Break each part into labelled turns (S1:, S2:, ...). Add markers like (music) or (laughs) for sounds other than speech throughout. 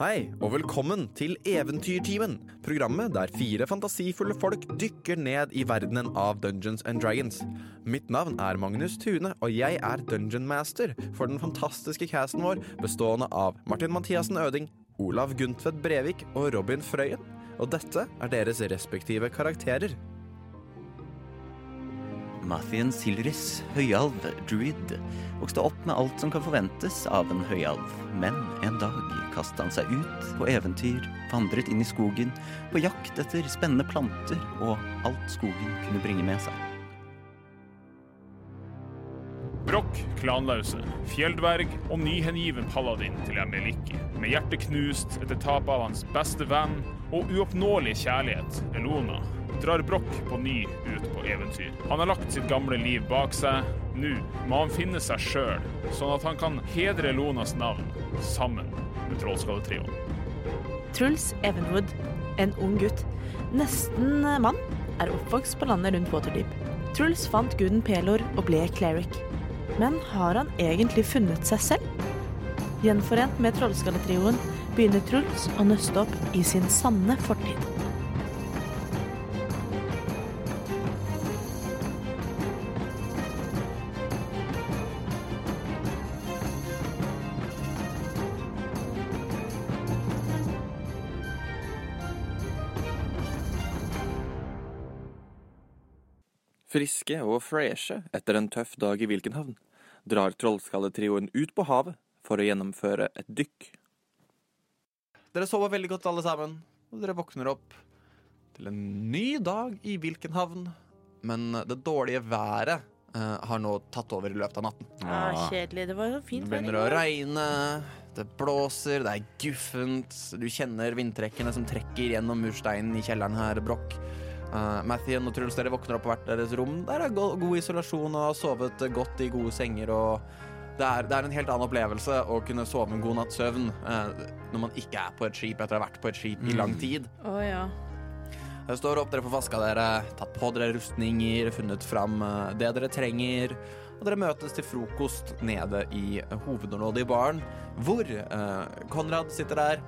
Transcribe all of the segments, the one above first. S1: Hei, og velkommen til Eventyrtimen, programmet der fire fantasifulle folk dykker ned i verdenen av Dungeons and Dragons. Mitt navn er Magnus Tune, og jeg er Dungeon Master for den fantastiske casten vår, bestående av Martin Mathiassen Øding, Olav Gundtvedt Brevik og Robin Frøyen. Og dette er deres respektive karakterer.
S2: Mathien Silris, høyalv, druid, vokste opp med alt som kan forventes av en høyalv. Men en dag kastet han seg ut på eventyr, vandret inn i skogen, på jakt etter spennende planter og alt skogen kunne bringe med seg.
S3: Brokk, klanlause, fjelldverg og nyhengiven paladin til Emeliki. Med hjertet knust etter tapet av hans beste venn og uoppnåelige kjærlighet, Elona, drar Brokk på ny ut på eventyr. Han har lagt sitt gamle liv bak seg. Nå må han finne seg sjøl, sånn at han kan hedre Elonas navn sammen med Trollskalletrioen.
S4: Truls Evenwood, en ung gutt, nesten eh, mann, er oppvokst på landet rundt Waterdeep. Truls fant guden Pelor og ble cleric. Men har han egentlig funnet seg selv? Gjenforent med Trollskalletrioen begynner Truls å nøste opp i sin sanne fortid.
S5: Friske og freshe etter en tøff dag i Wilkenhavn drar trollskalletrioen ut på havet for å gjennomføre et dykk.
S1: Dere sover veldig godt alle sammen, og dere våkner opp til en ny dag i hvilken havn. Men det dårlige været eh, har nå tatt over i løpet av natten.
S4: Ah, kjedelig. Det var jo
S1: Det
S4: fint
S1: begynner å regne, det blåser, det er guffent. Du kjenner vindtrekkene som trekker gjennom mursteinen i kjelleren her, Brokk. Uh, Mathien og Truls, dere våkner opp på hvert deres rom. Der er go god isolasjon og har sovet godt i gode senger. og det er, det er en helt annen opplevelse å kunne sove en god natts søvn eh, når man ikke er på et skip etter å ha vært på et skip i lang tid.
S4: Å ja.
S1: Dere står opp, dere får vaska dere, tatt på dere rustninger, funnet fram eh, det dere trenger. Og dere møtes til frokost nede i hovedområdet i baren, hvor eh, Konrad sitter der,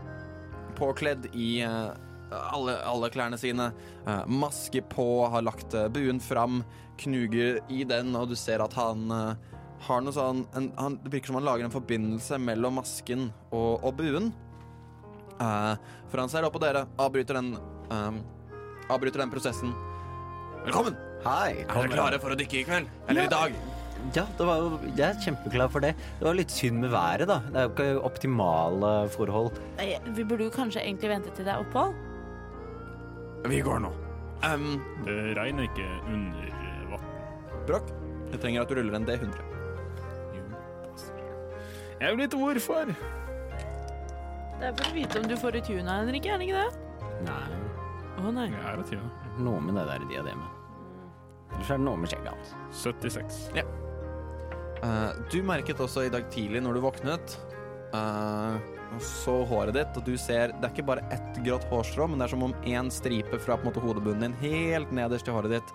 S1: påkledd i eh, alle, alle klærne sine. eh, maske på, har lagt eh, buen fram, knuger i den, og du ser at han eh, har noe sånn en, han, Det virker som han lager en forbindelse mellom masken og, og buen. Eh, for han ser opp på dere, avbryter den eh, avbryter den prosessen. Velkommen!
S2: Hei!
S1: Er dere klare for å dykke i kveld? Eller i dag?
S6: Ja, det var jo, jeg er kjempeklar for det. Det var litt synd med været, da. Det er jo ikke optimale forhold.
S4: Nei, Vi burde jo kanskje egentlig vente til det er opphold.
S1: Vi går nå. Um,
S3: Det regner ikke under eh, vann.
S1: Brokk, jeg trenger at du ruller en D100.
S3: Jeg vet ikke hvorfor.
S4: Det er for å vite om du får retuna, Henrik. Er det ikke det?
S6: Nei,
S4: Å nei.
S3: Jeg er et ja.
S6: noe med det der diademet. Ellers er det noe med skjegget hans.
S3: 76.
S1: Eh, du merket også i dag tidlig når du våknet eh, og så håret ditt, og du ser Det er ikke bare ett grått hårstrå, men det er som om én stripe fra på en måte, hodebunnen din helt nederst til håret ditt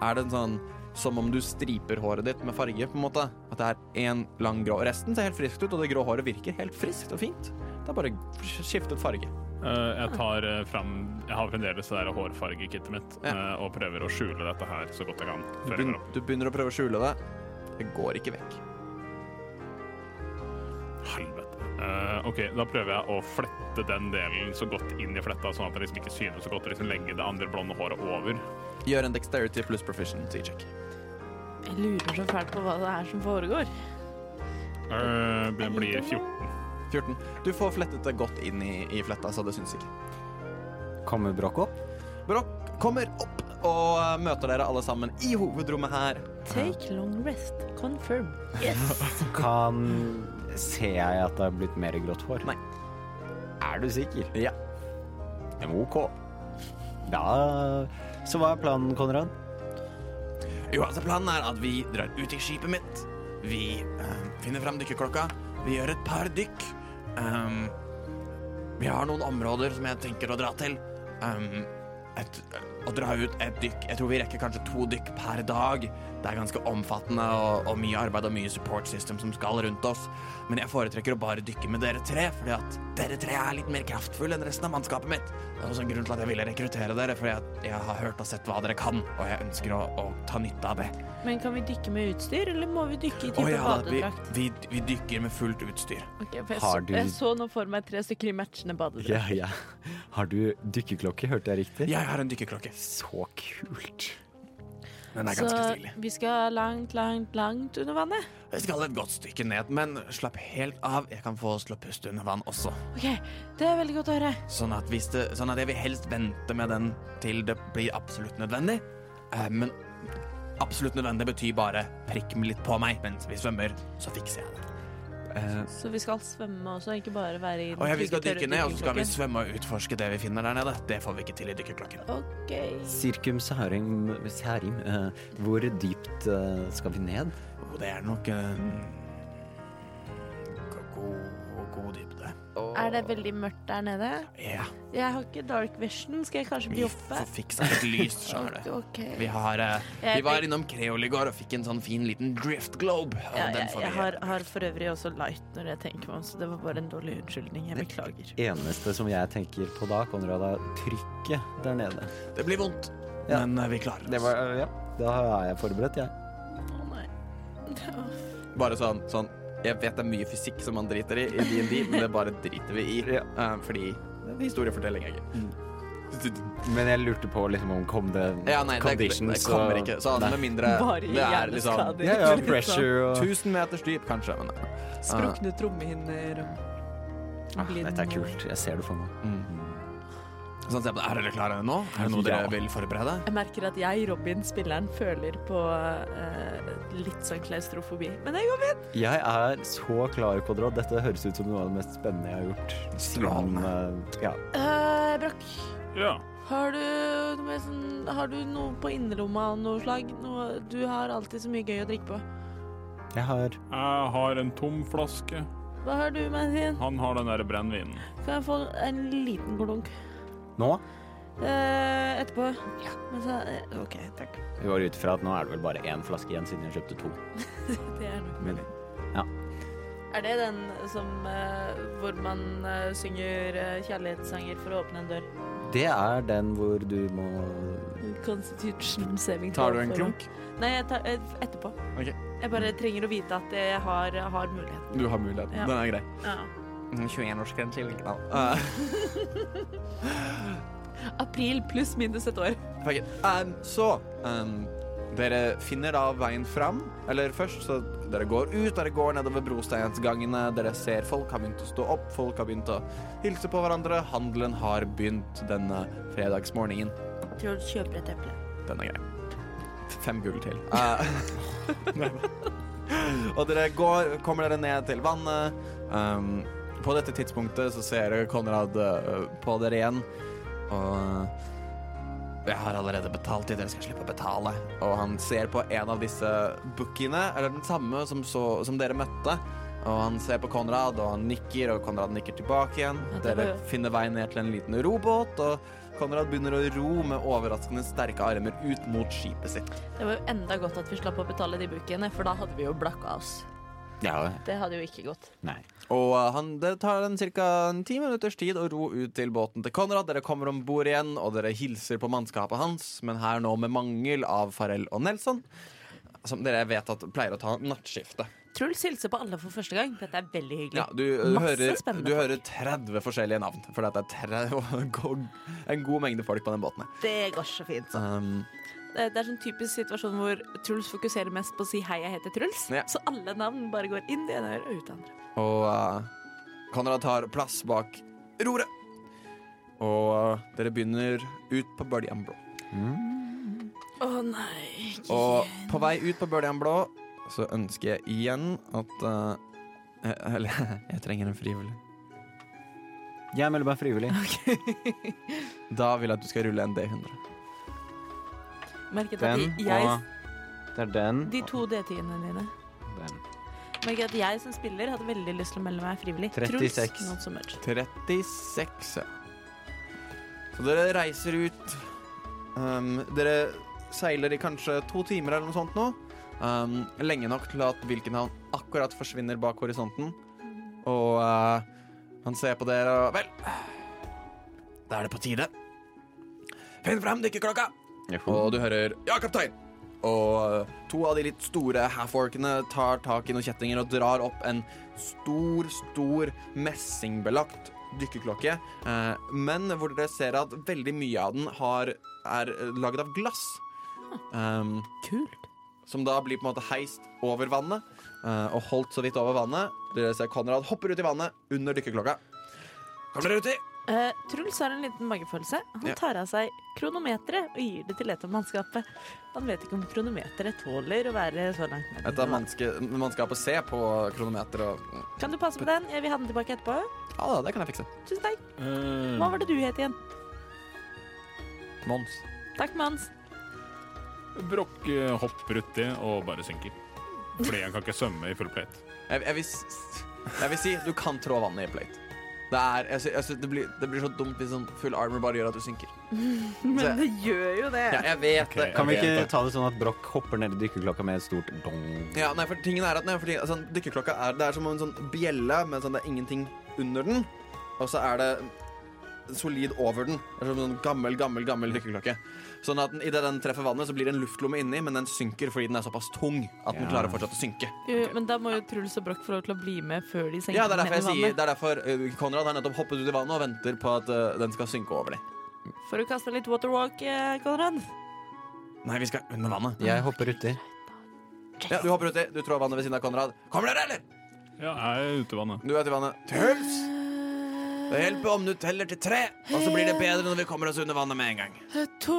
S1: er det en sånn som om du striper håret ditt med farge, på en måte. At det er én lang grå. Resten ser helt friskt ut, og det grå håret virker helt friskt og fint. Det er bare skiftet farge.
S3: Eh, jeg tar eh, fram Jeg har fremdeles det der hårfargekittet mitt
S1: Ja.
S3: eh, og prøver å skjule dette her så godt jeg kan.
S1: Du,
S3: Før jeg går
S1: begyn-
S3: opp.
S1: du begynner å prøve å skjule det. Det går ikke vekk.
S3: Helvete. Eh, OK, da prøver jeg å flette den delen så godt inn i fletta, sånn at det liksom ikke synes så godt, og liksom legge det andre blonde håret over.
S1: Gjør en dexterity pluss proficiency check.
S4: Jeg lurer så fælt på hva det er som foregår.
S3: Eh, det blir 14.
S1: 14. Du får flettet det godt inn i, i fletta, så det syns ikke.
S6: Kommer Brokk opp?
S1: Brokk kommer opp og eh, møter dere alle sammen i hovedrommet her.
S4: Take long rest. Confirm.
S6: Kan Ser jeg at det har blitt mer grått hår?
S1: Nei.
S6: Er du sikker?
S1: Ja.
S6: Ja, men Ok. Da Så hva er planen, Konrad?
S1: Jo, altså Planen er at vi drar ut i skipet mitt. Vi eh, finner fram dykkerklokka. Vi gjør et par dykk. Ehm, vi har noen områder som jeg tenker å dra til. Um, Ehm, et, å dra ut et dykk Jeg tror vi rekker kanskje to dykk per dag. Det er ganske omfattende og, og mye arbeid og mye support system som skal rundt oss. Men jeg foretrekker å bare dykke med dere tre, fordi at dere tre er litt mer kraftfulle enn resten av mannskapet mitt. Det er også en grunn til at jeg ville rekruttere dere, fordi at jeg har hørt og sett hva dere kan, og jeg ønsker å, å ta nytte av det.
S4: Men kan vi dykke med utstyr, eller må vi dykke i type
S1: Å ja, da, vi,
S4: badedrakt?
S1: vi, vi dykker med fullt utstyr.
S4: Ok, for jeg,
S6: Har
S4: så-
S6: du-
S4: jeg så nå for meg tre stykker i matchende badedrakt.
S6: Ja, ja. Har du dykkerklokke, hørte jeg riktig?
S1: Jeg har en dykkerklokke.
S6: Så kult.
S1: Den er
S4: Så
S1: ganske stilig.
S4: vi skal langt, langt, langt under vannet.
S1: Jeg skal et godt stykke ned, men slapp helt av. Jeg kan få slå pust under vann også.
S4: Ok, Det er veldig godt å høre.
S1: Sånn at, hvis det, sånn at jeg vil helst vente med den til det blir absolutt nødvendig. Eh, men absolutt nødvendig betyr bare prikk meg litt på meg mens vi svømmer, så fikser jeg det.
S2: Eh,
S4: Så vi skal svømme også, ikke bare være i den
S1: Og ja, vi skal
S4: trygge
S1: dykke ned, og så skal vi
S4: dykkerklokken.
S1: svømme og utforske det vi finner der nede. Det får vi ikke til i dykkerklokken.
S4: Ok.
S2: Sirkum Saharim, Saharim eh, Hvor dypt eh, skal vi ned?
S1: Og Oh, det er nok en god, god dybde.
S4: Er det veldig mørkt der nede?
S1: Ja,
S4: Jeg har ikke dark vision. Skal jeg kanskje bli
S1: vi
S4: oppe?
S1: får fiksa litt lys, skjønner du.
S4: Ok.
S1: Vi, har, eh,
S4: Jeg
S1: vi var
S4: tenk-
S1: innom Kreol i går og fikk en sånn fin liten drift globe. og
S4: Ja,
S1: den
S4: jeg,
S1: får vi
S4: jeg har, har for øvrig også light når jeg tenker meg om, så det var bare en dårlig unnskyldning. Jeg beklager.
S6: Eneste som jeg tenker på da, Konrad, er trykket der nede.
S1: Det blir vondt,
S6: Ja.
S1: men eh, vi klarer oss.
S6: Det var, ja, da er jeg forberedt, jeg.
S4: Å nei. (laughs)
S1: Bare sånn, sånn Jeg vet det er mye fysikk som man driter i i D&D, men det bare driter vi i.
S6: Ja.
S1: Eh, fordi det er historiefortelling, egentlig.
S6: Men jeg lurte på liksom om kom det
S1: Ja, nei, det, det, det
S6: conditions
S1: kommer
S6: og-
S1: ikke. Så
S6: Nei.
S1: med mindre
S4: Bare
S1: det er liksom
S4: hjerneskader.
S6: Ja,
S4: (laughs)
S6: ja, pressure og
S1: 1000 meters dyp, kanskje. Men,
S4: Liksom.
S7: Sprukne trommehinner og
S6: ah, Dette er kult. Jeg ser det for meg.
S1: sånn, ser jeg på det. er dere klare nå? Er det noe
S6: Ja.
S1: dere vil forberede?
S4: Jeg merker at jeg, Robin, spilleren, føler på eh, litt sånn klaustrofobi. Men det går fint!
S6: Jeg er så klar, Konrad. Dette høres ut som noe av det mest spennende jeg har gjort.
S1: Strålende.
S6: Men, eh, ja.
S4: Eh, Brakk,
S3: Ja.
S4: har du, noe mer sånn, har du noe på innerlomma av noe slag? Noe, du har alltid så mye gøy å drikke på.
S6: Jeg har
S3: Jeg har en tom flaske.
S4: Hva har du med din?
S3: Han har den der brennevinen.
S4: Kan jeg få en liten klunk?
S6: Nå
S4: Eh, etterpå? Ja. Men så, eh, OK, takk.
S6: Vi går ut fra at nå er det vel bare én flaske igjen, siden jeg kjøpte to.
S4: Det er nok
S6: Men-
S4: mulig.
S6: ja.
S4: Er det den som eh, hvor man eh, synger eh, kjærlighetssanger for å åpne en dør?
S6: Det er den hvor du må
S4: Constitution saving
S1: Tar
S4: throw
S1: du en
S4: for-
S1: klunk?
S4: Nei, jeg tar, eh, etterpå.
S1: Ok.
S4: Jeg bare trenger å vite at jeg har, har mulighet.
S1: Du har muligheten.
S4: Ja.
S1: Den er grei.
S4: Ja.
S1: Mm, 21-årsgrense i Linkedal.
S4: (laughs) April pluss minus et år.
S1: Fuck it. Um, så um, Dere finner da veien fram. Eller først, så dere går ut, dere går nedover brosteinsgangene. Dere ser folk har begynt å stå opp, folk har begynt å hilse på hverandre. Handelen har begynt denne fredagsmorgenen.
S4: Tror du kjøper et eple?
S1: Den er grei. F- Fem gull til. Eh, og dere går, kommer dere ned til vannet. Um, på dette tidspunktet så ser dere Konrad eh, på dere igjen. Og eh, jeg har allerede betalt til dere skal slippe å betale. Og han ser på en av disse bookiene, eller den samme som, så, som dere møtte. Og han ser på Konrad, og han nikker, og Konrad nikker tilbake igjen.
S4: Ja, det var
S1: Dere
S4: jo-
S1: finner vei ned til en liten robåt, og Konrad begynner å ro med overraskende sterke armer ut mot skipet sitt.
S4: Det var jo enda godt at vi slapp å betale de bookene, for da hadde vi jo blakka oss.
S6: Ja,
S4: Det hadde jo ikke gått.
S6: nei.
S1: Og eh, han, det tar en ca. ti minutters tid å ro ut til båten til Konrad. Dere kommer om bord igjen, og dere hilser på mannskapet hans, men her nå med mangel av Farrell og Nelson, som dere vet at pleier å ta nattskifte.
S4: Truls hilser på alle for første gang. Dette er veldig hyggelig.
S1: Ja, du, eh,
S4: Masse
S1: hører,
S4: spennende
S1: du hører 30 forskjellige navn, for det er tre, (laughs) en god mengde folk på den båten. her.
S4: Det går så fint.
S1: Um,
S4: Det det er sånn typisk situasjon hvor Truls fokuserer mest på å si 'hei, jeg heter Truls'.
S1: Ja.
S4: Så alle navn bare går inn det ene øret og ut det andre.
S1: Og eh, Konrad tar plass bak roret. Og eh, dere begynner ut på Bøljan Blå.
S4: Å nei. ikke-
S1: Og på vei ut på Bøljan Blå så ønsker jeg igjen at eh,
S5: (laughs)
S1: eh, Eller jeg trenger en frivillig.
S6: Jeg melder meg frivillig.
S1: Da vil jeg at du skal rulle en D100.
S4: Merket at
S6: Den
S4: de- jeg,
S6: og Det er den.
S4: de to D10-ene dine
S6: og den.
S4: Merket at jeg som spiller hadde veldig lyst til å melde meg frivillig.
S6: 36.
S4: Truls, not so much.
S1: 36, ja. Så dere reiser ut. Um, dere seiler i kanskje to timer eller noe sånt nå.
S5: Um, lenge nok til at Wilkenhavn akkurat forsvinner bak horisonten. Og eh, han ser på dere og Vel, da er det på tide. Finn fram dykkerklokka! Og du hører 'Ja, kaptein'. Og eh, to av de litt store half-orkene tar tak i noen kjettinger og drar opp en stor, stor messingbelagt dykkerklokke. eh, men hvor dere ser at veldig mye av den har, er eh, laget av glass. Um,
S4: Kult.
S5: som da blir på en måte heist over vannet eh, og holdt så vidt over vannet. Dere ser Konrad hopper ut i vannet under dykkerklokka. Kom dere uti!
S4: Eh, Truls har en liten magefølelse. Han
S5: Ja.
S4: tar av seg kronometeret og gir det til et av mannskapet. Han vet ikke om kronometeret tåler å være så langt ned.
S5: Et av mannske, mannskapet ser på kronometer og
S4: Kan du passe på den? Jeg vil ha den tilbake etterpå.
S5: Ja da, det kan jeg fikse.
S4: Tusen takk. Hva var det du het igjen?
S5: Mons.
S4: Takk, (laughs) Mans.
S3: Brokk eh, hopper uti og bare synker. Fordi han kan ikke svømme i full plate.
S5: Jeg, jeg, vil, s- jeg vil si du kan trå vannet i plate. Det, er, jeg, sy- jeg, sy- det, blir, det blir så dumt hvis sånn full armor bare gjør at du synker.
S8: Men det gjør jo det.
S5: Ja, jeg vet det.
S3: Ok,
S5: jeg
S2: Kan vi
S5: vet det.
S2: ikke ta det sånn at Broch hopper ned i dykkerklokka med et stort dong?
S5: Ja, nei, for tingen er at nei, fordi, altså, Dykkerklokka er, det er som en sånn bjelle, men sånn, det er ingenting under den. Og så er det solid over den. Det er som en sånn gammel, gammel, gammel dykkerklokke. Sånn at den- idet den treffer vannet, så blir det en luftlomme inni, men den synker fordi den er såpass tung at den
S2: Ja.
S5: klarer fortsatt å synke.
S4: Jo, Men da må jo Truls og Broch få lov til å bli med før de senker
S5: Ja, det er derfor jeg
S4: ned i
S5: sier
S4: vannet.
S5: Det er derfor uh, Konrad har nettopp hoppet ut i vannet og venter på at uh, den skal synke over dem.
S4: Får du kaste litt waterwalk, eh, Konrad?
S5: Nei, vi skal under vannet.
S2: Jeg hopper uti.
S5: Ja, Du hopper uti. Du trår vannet ved siden av Konrad. Kommer dere, eller?
S3: Ja, jeg er ute i vannet.
S5: Du er til vannet. Truls! Det hjelper om du teller til tre, og så blir det bedre når vi kommer oss under vannet med en gang.
S4: Eh, To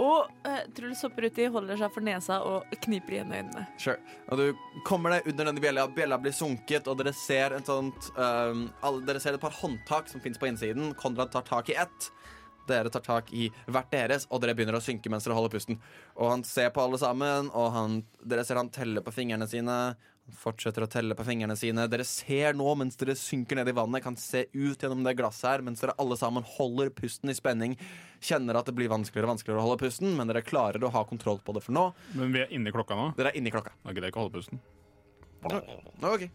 S4: Og eh, Truls hopper uti, holder seg for nesa og kniper igjen øynene.
S5: Sure. Og du kommer deg under denne bjella, bjella blir sunket, og dere ser, et sånt, ehm, alle, dere ser et par håndtak som fins på innsiden. Konrad tar tak i ett. Dere tar tak i hvert deres, og dere begynner å synke mens dere holder pusten. Og han ser på alle sammen, og han, dere ser han teller på fingrene sine. Han fortsetter å telle på fingrene sine. Dere ser nå, mens dere synker ned i vannet, kan se ut gjennom det glasset her, mens dere alle sammen holder pusten i spenning. Kjenner at det blir vanskeligere og vanskeligere å holde pusten, men dere klarer å ha kontroll på det for nå.
S3: Men vi er inni klokka nå.
S5: Dere er inni klokka.
S3: Da gidder jeg ikke å holde pusten.
S5: Ok.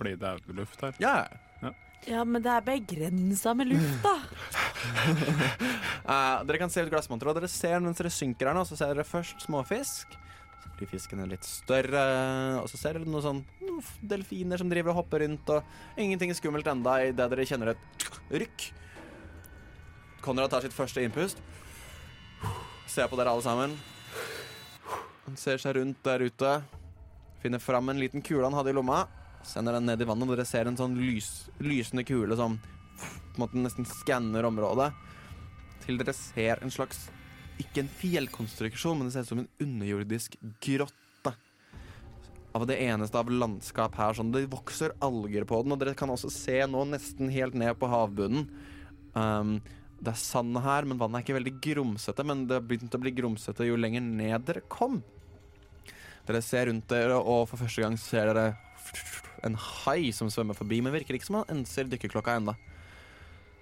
S3: Fordi det er luft her.
S5: Ja, ja.
S4: Ja, men det er begrensa med luft, da.
S5: Eh, dere kan se ut glassmonteret, og dere ser mens dere synker her nå, så ser dere først småfisk. Så blir fiskene litt større, og så ser dere noen sånn noen f- delfiner som driver og hopper rundt, og ingenting skummelt enda idet dere kjenner et rykk. Konrad tar sitt første innpust. Ser på dere alle sammen. Han ser seg rundt der ute. Finner fram en liten kule han hadde i lomma. Sender den ned i vannet, og dere ser en sånn lys, lysende kule som på en måte nesten skanner området til dere ser en slags Ikke en fjellkonstruksjon, men det ser ut som en underjordisk grotte. Av det eneste av landskap her. Sånn, det vokser alger på den, og dere kan også se nå nesten helt ned på havbunnen. Um, det er sand her, men vannet er ikke veldig grumsete. Men det har begynt å bli grumsete jo lenger ned dere kom. Dere ser rundt dere, og for første gang ser dere en hai som svømmer forbi, men virker ikke som han enser dykkerklokka ennå.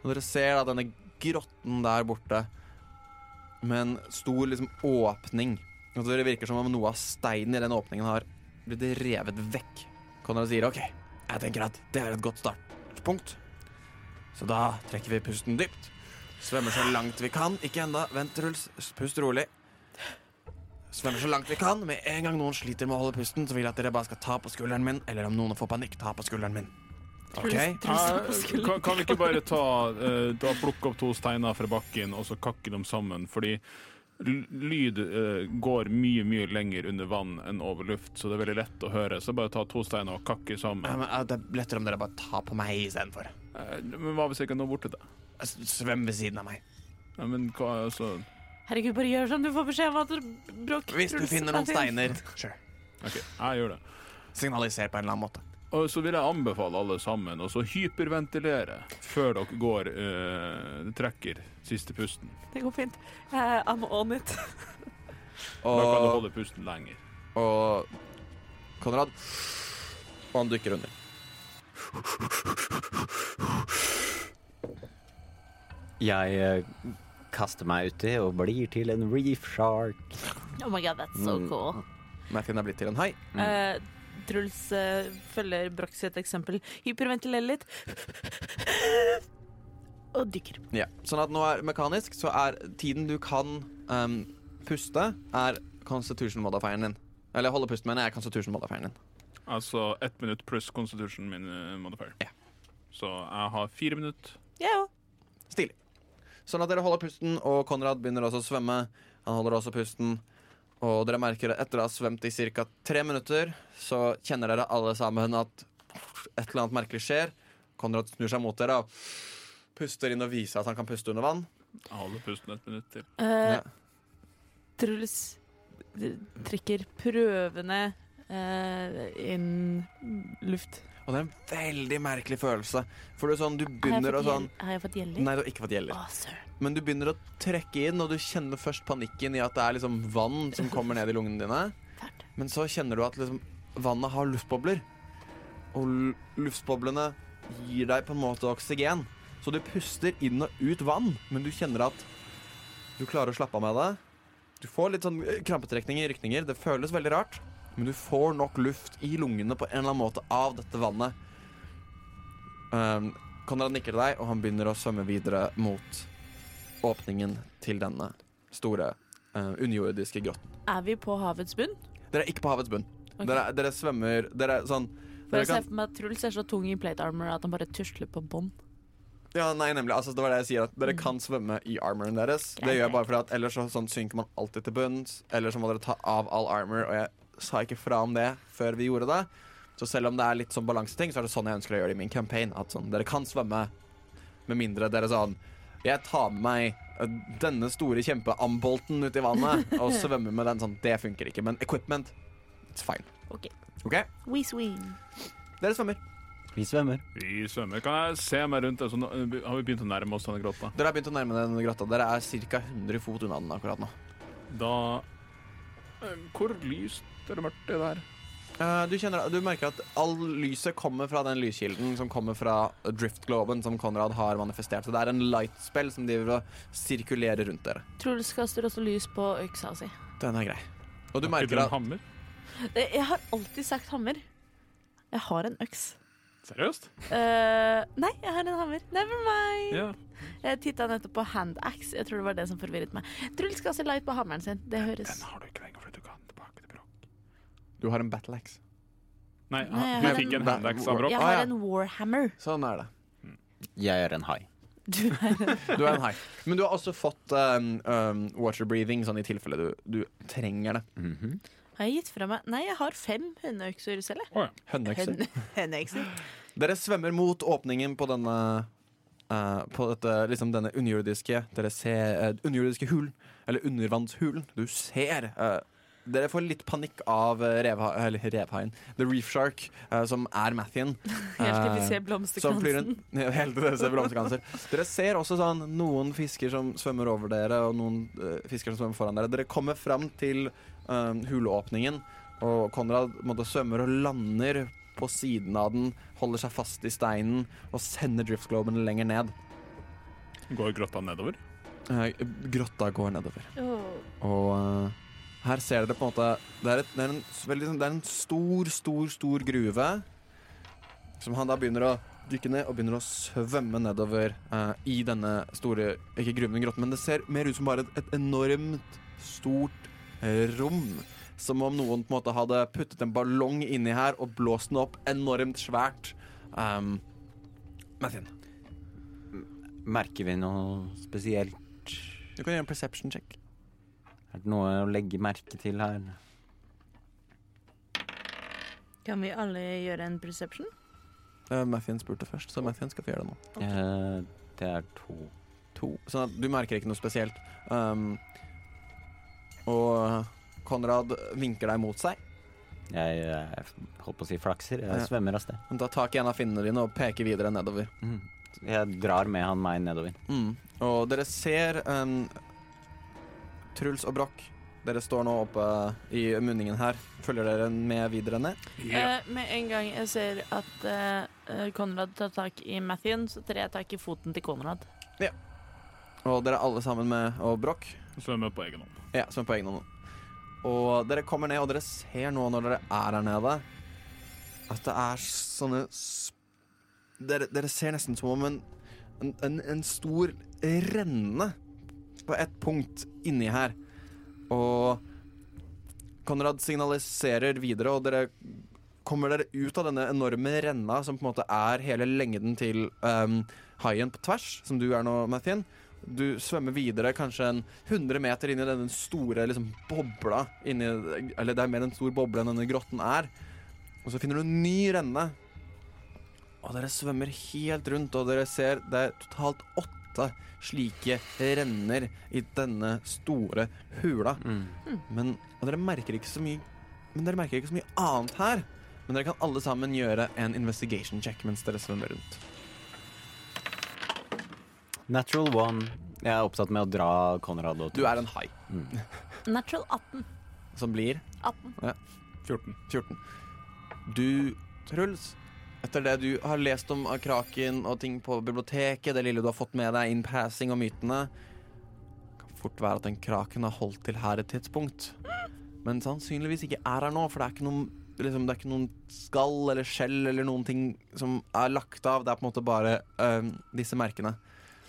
S5: Og dere ser da denne grotten der borte med en stor liksom åpning. Og så det virker som om noe av steinen i den åpningen har blitt revet vekk. Konrad sier OK, jeg tenker at det er et godt startpunkt. Så da trekker vi pusten dypt. Svømmer så langt vi kan. Ikke ennå. Vent, Truls. Pust rolig. Svømmer så langt vi kan. Med en gang noen sliter med å holde pusten, så vil jeg at dere bare skal ta på skulderen min. Eller om noen får panikk, ta på skulderen min. OK?
S3: Eh, kan, kan vi ikke bare ta, eh, ta plukke opp to steiner fra bakken og så kakke dem sammen? Fordi l- lyd eh, går mye mye lenger under vann enn over luft, så det er veldig lett å høre. Så bare ta to steiner og kakke
S5: Ja,
S3: sammen.
S5: men, ja, det er lettere om dere bare tar på meg istedenfor.
S3: Eh, Men hva hvis jeg ikke når bort til det?
S5: S- Svøm ved siden av meg.
S3: Ja, men hva, altså,
S4: Herregud, bare gjør som du får beskjed om. at Brokk
S5: Hvis du
S4: Truls
S5: finner noen
S4: er til.
S5: steiner, sure.
S3: OK, jeg gjør det.
S5: signaliser på en eller annen måte.
S3: Og så vil jeg anbefale alle sammen å så hyperventilere før dere går eh, trekker siste pusten.
S4: Det går fint. Eh, I'm on it.
S3: Da kan du
S5: Og,
S3: holde pusten lenger.
S5: og Konrad Og han dykker under.
S2: Jeg eh, kaster meg uti og blir til en reef shark.
S4: (laughs) Oh my god, that's
S5: Mm.
S4: so cool.
S5: Merken er blitt til en hai.
S4: Eh, Truls eh, følger Broch sitt eksempel, hyperventilerer litt (laughs) og dykker.
S5: Ja. Sånn at nå er mekanisk, så er tiden du kan um, puste, er constitution modifieren din. Eller holde pusten, mener jeg, er constitution modifieren din.
S3: Altså ett minutt pluss constitution min eh, modifier.
S5: Ja.
S3: Så jeg har fire minutter.
S4: Jeg òg.
S5: Stilig. Sånn at dere holder pusten, og Konrad begynner også å svømme. Han holder også pusten. Og dere merker at etter å ha svømt i ca. tre minutter, så kjenner dere alle sammen at et eller annet merkelig skjer. Konrad snur seg mot dere og puster inn og viser at han kan puste under vann.
S3: Jeg holder pusten ett minutt til.
S5: Ja.
S4: Eh, Truls d- trekker prøvende eh, inn luft.
S5: Og det er en veldig merkelig følelse. For du, er sånn, du
S4: Har jeg
S5: begynner å
S4: fått
S5: sånn
S4: gjel- Har jeg fått gjeller?
S5: Nei, du har ikke fått gjeller.
S4: Å, søren.
S5: Men du begynner å trekke inn, og du kjenner først panikken i at det er liksom vann som kommer ned i lungene dine.
S4: Fælt.
S5: Men så kjenner du at liksom vannet har luftbobler. Og lu- luftboblene gir deg på en måte oksygen. Så du puster inn og ut vann, men du kjenner at du klarer å slappe av med det. Du får litt sånn eh, krampetrekninger, rykninger. Det føles veldig rart. Men du får nok luft i lungene på en eller annen måte av dette vannet. Um, Konrad nikker til deg, og han begynner å svømme videre mot åpningen til denne store eh, underjordiske grotten.
S4: Er vi på havets bunn?
S5: Dere er ikke på havets bunn.
S4: Ok.
S5: Dere, dere svømmer Dere er sånn
S4: For
S5: dere
S4: jeg ser
S5: kan,
S4: for meg at Truls er så tung i plate armor at han bare tusler på bånd.
S5: ja, nei, nemlig. Altså, det var det jeg sier. At dere kan svømme i armoren deres. Det
S4: Greit,
S5: gjør jeg
S4: greit.
S5: bare fordi at ellers så, sånn, synker man alltid til bunns. Eller så må dere ta av all armor, og jeg sa ikke fra om det før vi gjorde det. Så selv om det er litt sånn balanseting, så er det sånn jeg ønsker å gjøre det i min campaign. At sånn, dere kan svømme, med mindre dere sånn Jeg tar med meg eh, denne store kjempeambolten ut i vannet og svømmer med den sånn. Det funker ikke. Men equipment, it's fine.
S4: Ok.
S5: OK?
S4: We swing.
S5: Dere svømmer.
S2: Vi svømmer.
S3: Vi svømmer. Kan jeg se meg rundt? Altså, nå har vi begynt å nærme oss denne grotta?
S5: Dere har begynt å nærme dere denne grotta. Dere er ca. 100 fot unna den akkurat nå.
S3: Da eh, Hvor lyst eller mørkt er det her?
S5: Eh, Du, kjenner, du merker at all lyset kommer fra den lyskilden som kommer fra driftgloben som Konrad har manifestert. Så det er en lightspell som driver og sirkulerer rundt dere.
S4: Truls kaster også lys på øksa si.
S5: Den er grei. Og du
S3: Blir det
S5: merker
S3: en
S5: at
S3: hammer?
S4: Eh, Jeg har alltid sagt hammer. Jeg har en øks. (laughs)
S3: Seriøst?
S4: Eh, nei, jeg har en hammer. Never mind.
S3: Ja.
S4: Jeg titta nettopp på handaxe. Jeg tror det var det som forvirret meg. Truls kaster light på hammeren sin. Det høres
S3: Den har du ikke lenger, for du kan tilbake til Brokk.
S5: Du har en battle axe.
S3: Nei,
S4: Nei, jeg
S3: du
S4: har
S3: fikk
S4: en-
S3: en handax av Brokk.
S4: Jeg
S5: Ah, ja.
S4: har en warhammer.
S5: Sånn er det.
S2: Jeg er en hai.
S4: Du (laughs) er
S5: Du er en hai. Men du har også fått um, um, water breathing, sånn i tilfelle du, du trenger det.
S2: Mhm.
S4: Har jeg gitt fra meg Nei, jeg har fem hundeøkser selv, jeg.
S3: Å ja.
S5: Hønneøkser.
S4: Høn- (laughs) Høneøkser.
S5: Dere svømmer mot åpningen på denne eh, På dette, liksom denne underjordiske Dere ser eh, underjordiske hulen Eller undervannshulen Du ser eh, Dere får litt panikk av eh, revha, eller revhaien The Reef Shark eh, Som er Mathien
S4: Helt til
S5: Eh,
S4: vi ser
S5: som flyr
S4: blomsterkransen.
S5: rundt (laughs) Ja, Helt til dere ser blomsterkranser. Dere ser også sånn noen fisker som svømmer over dere, og noen eh, fisker som svømmer foran dere. Dere kommer fram til eh, huleåpningen, og Konrad på en måte, svømmer og lander på siden av den, holder seg fast i steinen og sender driftgloben lenger ned.
S3: Går grotta nedover?
S5: Eh, grotta går nedover.
S4: Åh.
S5: Og eh, her ser dere på en måte Det er, et, det er, en, s- veldig, sånn- det er en stor, stor, stor gruve som han da begynner å dykke ned og begynner å svømme nedover eh, i denne store Ikke gruven, grotten, men det ser mer ut som bare et, et enormt, stort eh, rom. Som om noen på en måte hadde puttet en ballong inni her og blåst den opp enormt svært. Um, Mathien,
S2: Merker vi noe spesielt?
S5: du kan gjøre en perception check.
S2: Er det noe å legge merke til her?
S4: Kan vi alle gjøre en perception?
S5: Uh, Mathien spurte først, så Mathien skal få gjøre det nå.
S2: Eh, det er to.
S5: to. Sånn at du merker ikke noe spesielt. Um, og Konrad vinker deg mot seg.
S2: Jeg, eh, holdt på å si flakser. Jeg
S5: Ja.
S2: svømmer av sted.
S5: Han tar tak i en av finnene dine og peker videre nedover.
S2: Mhm. Jeg drar med han meg nedover.
S5: Mm. Og dere ser um, Truls og Broch. Dere står nå oppe i munningen her. Følger dere med videre ned?
S4: Eh, med en gang jeg ser at eh, Konrad tar tak i Mathien, så trer jeg tak i foten til Konrad.
S5: Og dere er alle sammen med og Broch.
S3: Svømmer på egen hånd.
S5: Ja, som på egen hånd. Og dere kommer ned, og dere ser nå når dere er her nede, at det er sånne s- Dere, dere ser nesten som om en, en, en, en stor renne på et punkt inni her. Og Konrad signaliserer videre, og dere kommer dere ut av denne enorme renna som på en måte er hele lengden til um, haien på tvers, som du er nå, Mathien. Du svømmer videre kanskje en 100 meter inn i denne store liksom, bobla inni, Eller det er mer en stor boble enn denne grotten er. Og så finner du en ny renne. Og dere svømmer helt rundt, og dere ser det er totalt åtte slike renner i denne store hula.
S2: Mhm.
S5: Men og dere merker ikke så mye Men dere merker ikke så mye annet her. Men dere kan alle sammen gjøre en investigation check mens dere svømmer rundt.
S2: Natural one. Jeg er opptatt med å dra Konrad og
S5: Du er en hai
S4: Natural 18.
S5: som blir
S4: 18.
S3: 14.
S5: 14. Du, Truls, etter det du har lest om av Kraken og ting på biblioteket, det lille du har fått med deg in passing og mytene kan fort være at den kraken har holdt til her et tidspunkt. Men sannsynligvis ikke er her nå, for det er ikke noen liksom, det er ikke noen skall eller skjell eller noen ting som er lagt av. Det er på en måte bare øhm, disse merkene.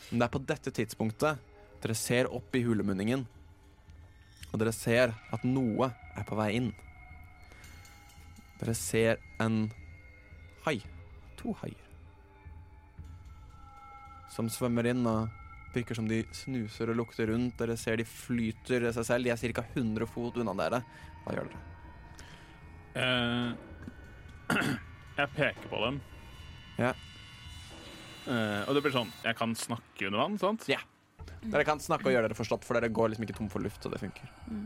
S5: Men det er på dette tidspunktet dere ser opp i hulemunningen, og dere ser at noe er på vei inn. Dere ser en hai. To haier. Som svømmer inn og virker som de snuser og lukter rundt. Dere ser de flyter seg selv. De er ca. 100 fot unna dere. Hva gjør dere?
S3: Eh, (clears throat) jeg peker på dem.
S5: Ja.
S3: Eh, og det blir sånn Jeg kan snakke under vann, sant?
S5: Ja. Dere kan snakke og gjøre dere forstått, for dere går liksom ikke tom for luft. Så det funker.
S4: Mm.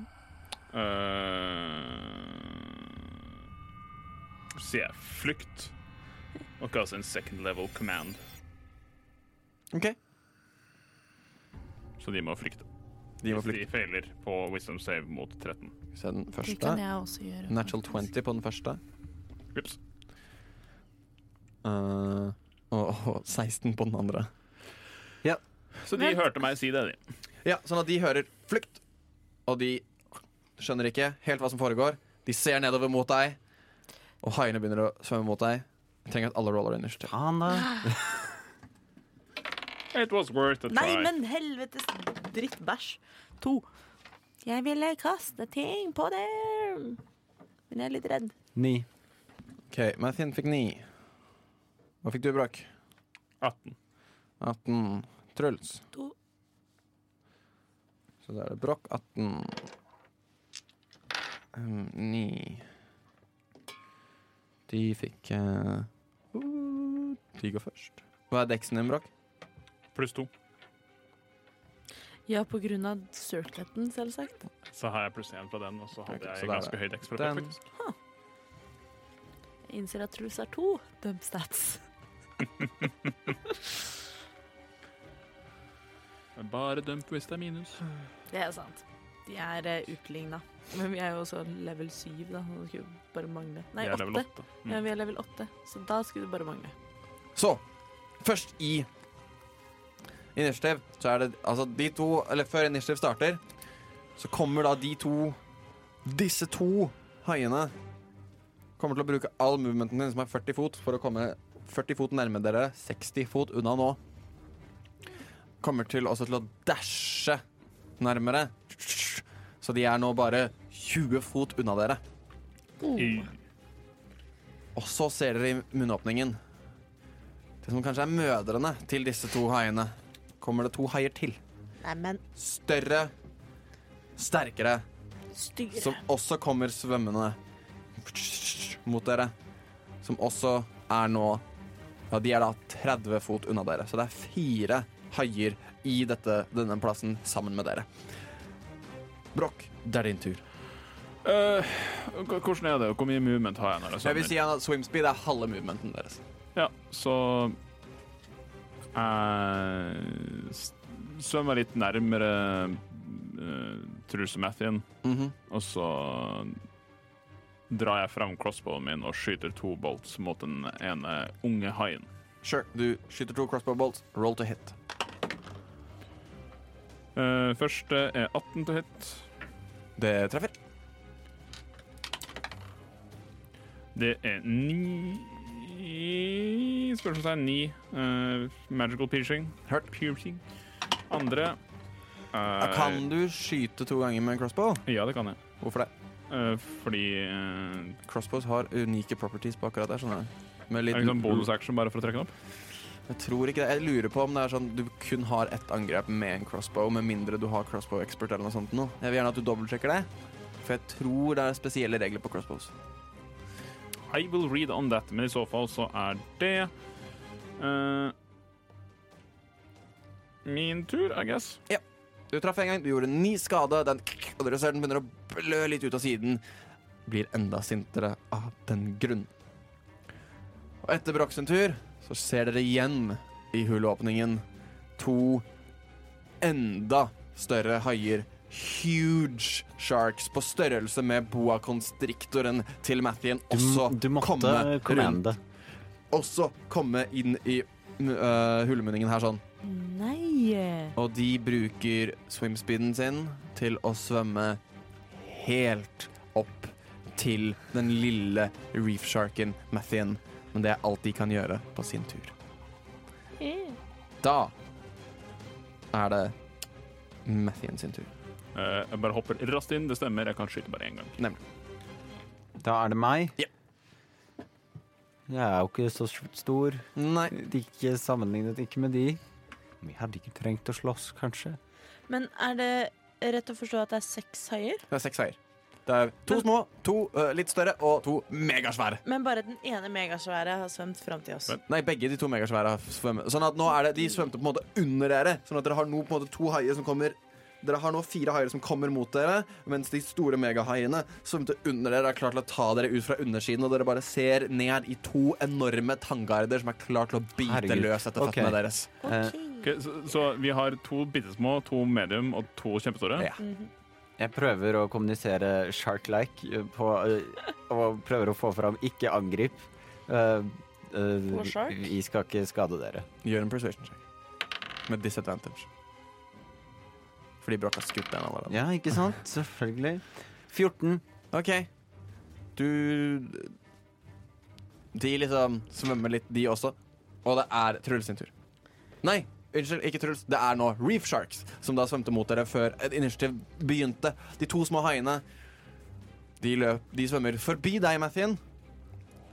S3: Eh, sier jeg flykt. Og kaster en second level command,
S5: OK.
S3: så de må flykte.
S5: De må
S3: Hvis de
S5: flykte.
S3: feiler på wisdom save mot 13.
S5: Se den
S4: Det
S5: første.
S4: kan jeg også gjøre.
S5: Natural 20 på den første.
S3: Ups.
S5: Eh, og, og 16 på den andre.
S3: Så de
S4: Vent.
S3: hørte meg si det, de.
S5: Ja, sånn at de hører flukt, og de skjønner ikke helt hva som foregår. De ser nedover mot deg, og haiene begynner å svømme mot deg. Jeg trenger at alle roller initiativ.
S2: Han da.
S6: (gasps)
S3: It was worth a try.
S4: Nei, men helvetes drittbæsj. To. Jeg ville kaste ting på dem, men jeg er litt redd.
S2: Ni.
S5: Ok, Mathien fikk 9. Hva fikk du, Bråk?
S3: 18.
S5: 18. Truls.
S4: To.
S5: Så da er det Bråk 18. 9. De fikk eh, uh, De går først. Hva er deksen din, Bråk?
S3: Pluss 2.
S4: Ja, på grunn av surkleten, selvsagt.
S3: Så har jeg pluss 1 fra den, og så hadde
S5: Ok, så
S3: jeg
S5: der er
S3: ganske høy dekk fra før,
S5: den.
S3: faktisk.
S4: Jeg innser at Truls har to dump stats.
S3: Men bare dump hvis det er minus.
S4: Det er sant. De er uh, utligna. Men vi er jo også level 7, da. og Det skulle bare mangle. Nei,
S3: Jeg er level
S4: 8.
S3: 8.
S4: Ja,
S3: Mm.
S4: vi er level 8, så da skulle det bare mangle.
S5: Så, først i initiativ, så er det altså de to Eller før initiativ starter, så kommer da de to Disse to haiene kommer til å bruke all movementen din, som er 40 fot, for å komme 40 fot nærme dere, 60 fot unna nå. Kommer til også til å dashe nærmere. Så de er nå bare 20 fot unna dere.
S3: I-
S5: Og så ser dere i munnåpningen Det som kanskje er mødrene til disse to haiene Kommer det to haier til
S4: Neimen,
S5: Større Sterkere
S4: styggere.
S5: Som også kommer svømmende Mot dere Som også er nå Ja, de er da 30 fot unna dere Så det er fire haier I dette, denne plassen sammen med dere Brokk, det er din tur
S3: Eh, h- hvordan er det? Hvor mye movement har jeg når jeg
S5: Jeg vil
S3: svømmer?
S5: si at swimspeed er halve movementen deres
S3: Ja, så Jeg eh, s- svømmer litt nærmere uh, Truls og Mathien,
S5: Mhm.
S3: og så drar jeg fram crossbowen min og skyter to bolts mot den ene unge haien.
S5: Sure, du skyter to crossbow bolts Roll to hit
S3: Eh, første er 18 til hit.
S5: Det treffer.
S3: Det er ni Spørsmålstegn ni. eh, magical piercing. Hurt piercing. Andre eh,
S5: Kan du skyte to ganger med en crossbow?
S3: Ja, det kan jeg.
S5: Hvorfor det?
S3: Eh, fordi eh,
S5: Crossbows har unike properties på akkurat der. skjønner du Med
S3: Er
S5: litt,
S3: det liksom bonusaction bare for å trekke den opp?
S5: Jeg tror ikke det. Jeg lurer på om det er sånn du kun har ett angrep med en crossbow, med mindre du har crossbow expert eller noe sånt. Nå. Jeg vil gjerne at du dobbeltsjekker det, for jeg tror det er spesielle regler på crossbows.
S3: I will read on that, men i så fall så er det eh, Min tur, I guess.
S5: Du traff en gang, du gjorde ni skade, den og dere ser den begynner å blø litt ut av siden. Blir enda sintere av den grunn. Og etter Broch sin tur så ser dere igjen i hulåpningen to enda større haier. Huge sharks på størrelse med boa constrictoren til Mathien også
S2: du, du måtte
S5: komme rundt.
S2: commande.
S5: Også komme inn i uh, hulemunningen her sånn.
S4: Nei.
S5: Og de bruker swimspeeden sin til å svømme helt opp til den lille reefsharken Mathien. Men det er alt de kan gjøre på sin tur. Da er det Mathien sin tur.
S3: Eh, jeg bare hopper raskt inn. Det stemmer, jeg kan skyte bare én gang.
S2: Da er det meg.
S5: Ja.
S2: Jeg er jo ikke så stor.
S5: Nei.
S2: Ikke sammenlignet ikke med de. Vi hadde ikke trengt å slåss, kanskje.
S4: Men er det rett å forstå at det er seks haier?
S5: Det er seks veier. Det er to små, to eh, litt større og to megasvære.
S4: Men bare den ene megasvære har svømt fram til oss.
S3: Men-
S5: Nei, begge de to megasvære har svømme. Sånn at nå er det, de svømte på en måte under dere. Sånn at dere har nå på en måte to haier som kommer Dere har nå fire haier som kommer mot dere, mens de store megahaiene svømte under dere og er klar til å ta dere ut fra undersiden, og dere bare ser ned i to enorme tanngarder som er klar til å bite
S2: Herregud.
S5: løs etter
S2: Ok.
S5: føttene deres.
S2: Eh,
S3: Ok, så, så vi har to bitte små, to medium og to kjempestore.
S5: Ja.
S4: Mhm.
S2: Jeg prøver å kommunisere shark-like eh, på, eh, og prøver å få fram 'ikke angrip'. Eh, eh,
S3: Mm.
S4: På shark?
S2: vi skal ikke skade dere.
S5: Gjør en persuasion check med disadvantage. Fordi Broch har skutt den allerede.
S2: Ja, ikke sant? Selvfølgelig. 14.
S5: OK. Du De liksom svømmer litt, de også. Og det er Truls sin tur. Nei, unnskyld, ikke Truls. Det er nå Reef Sharks, som da svømte mot dere før et initiativ begynte. De to små haiene de, løp, de svømmer forbi deg, Mathien,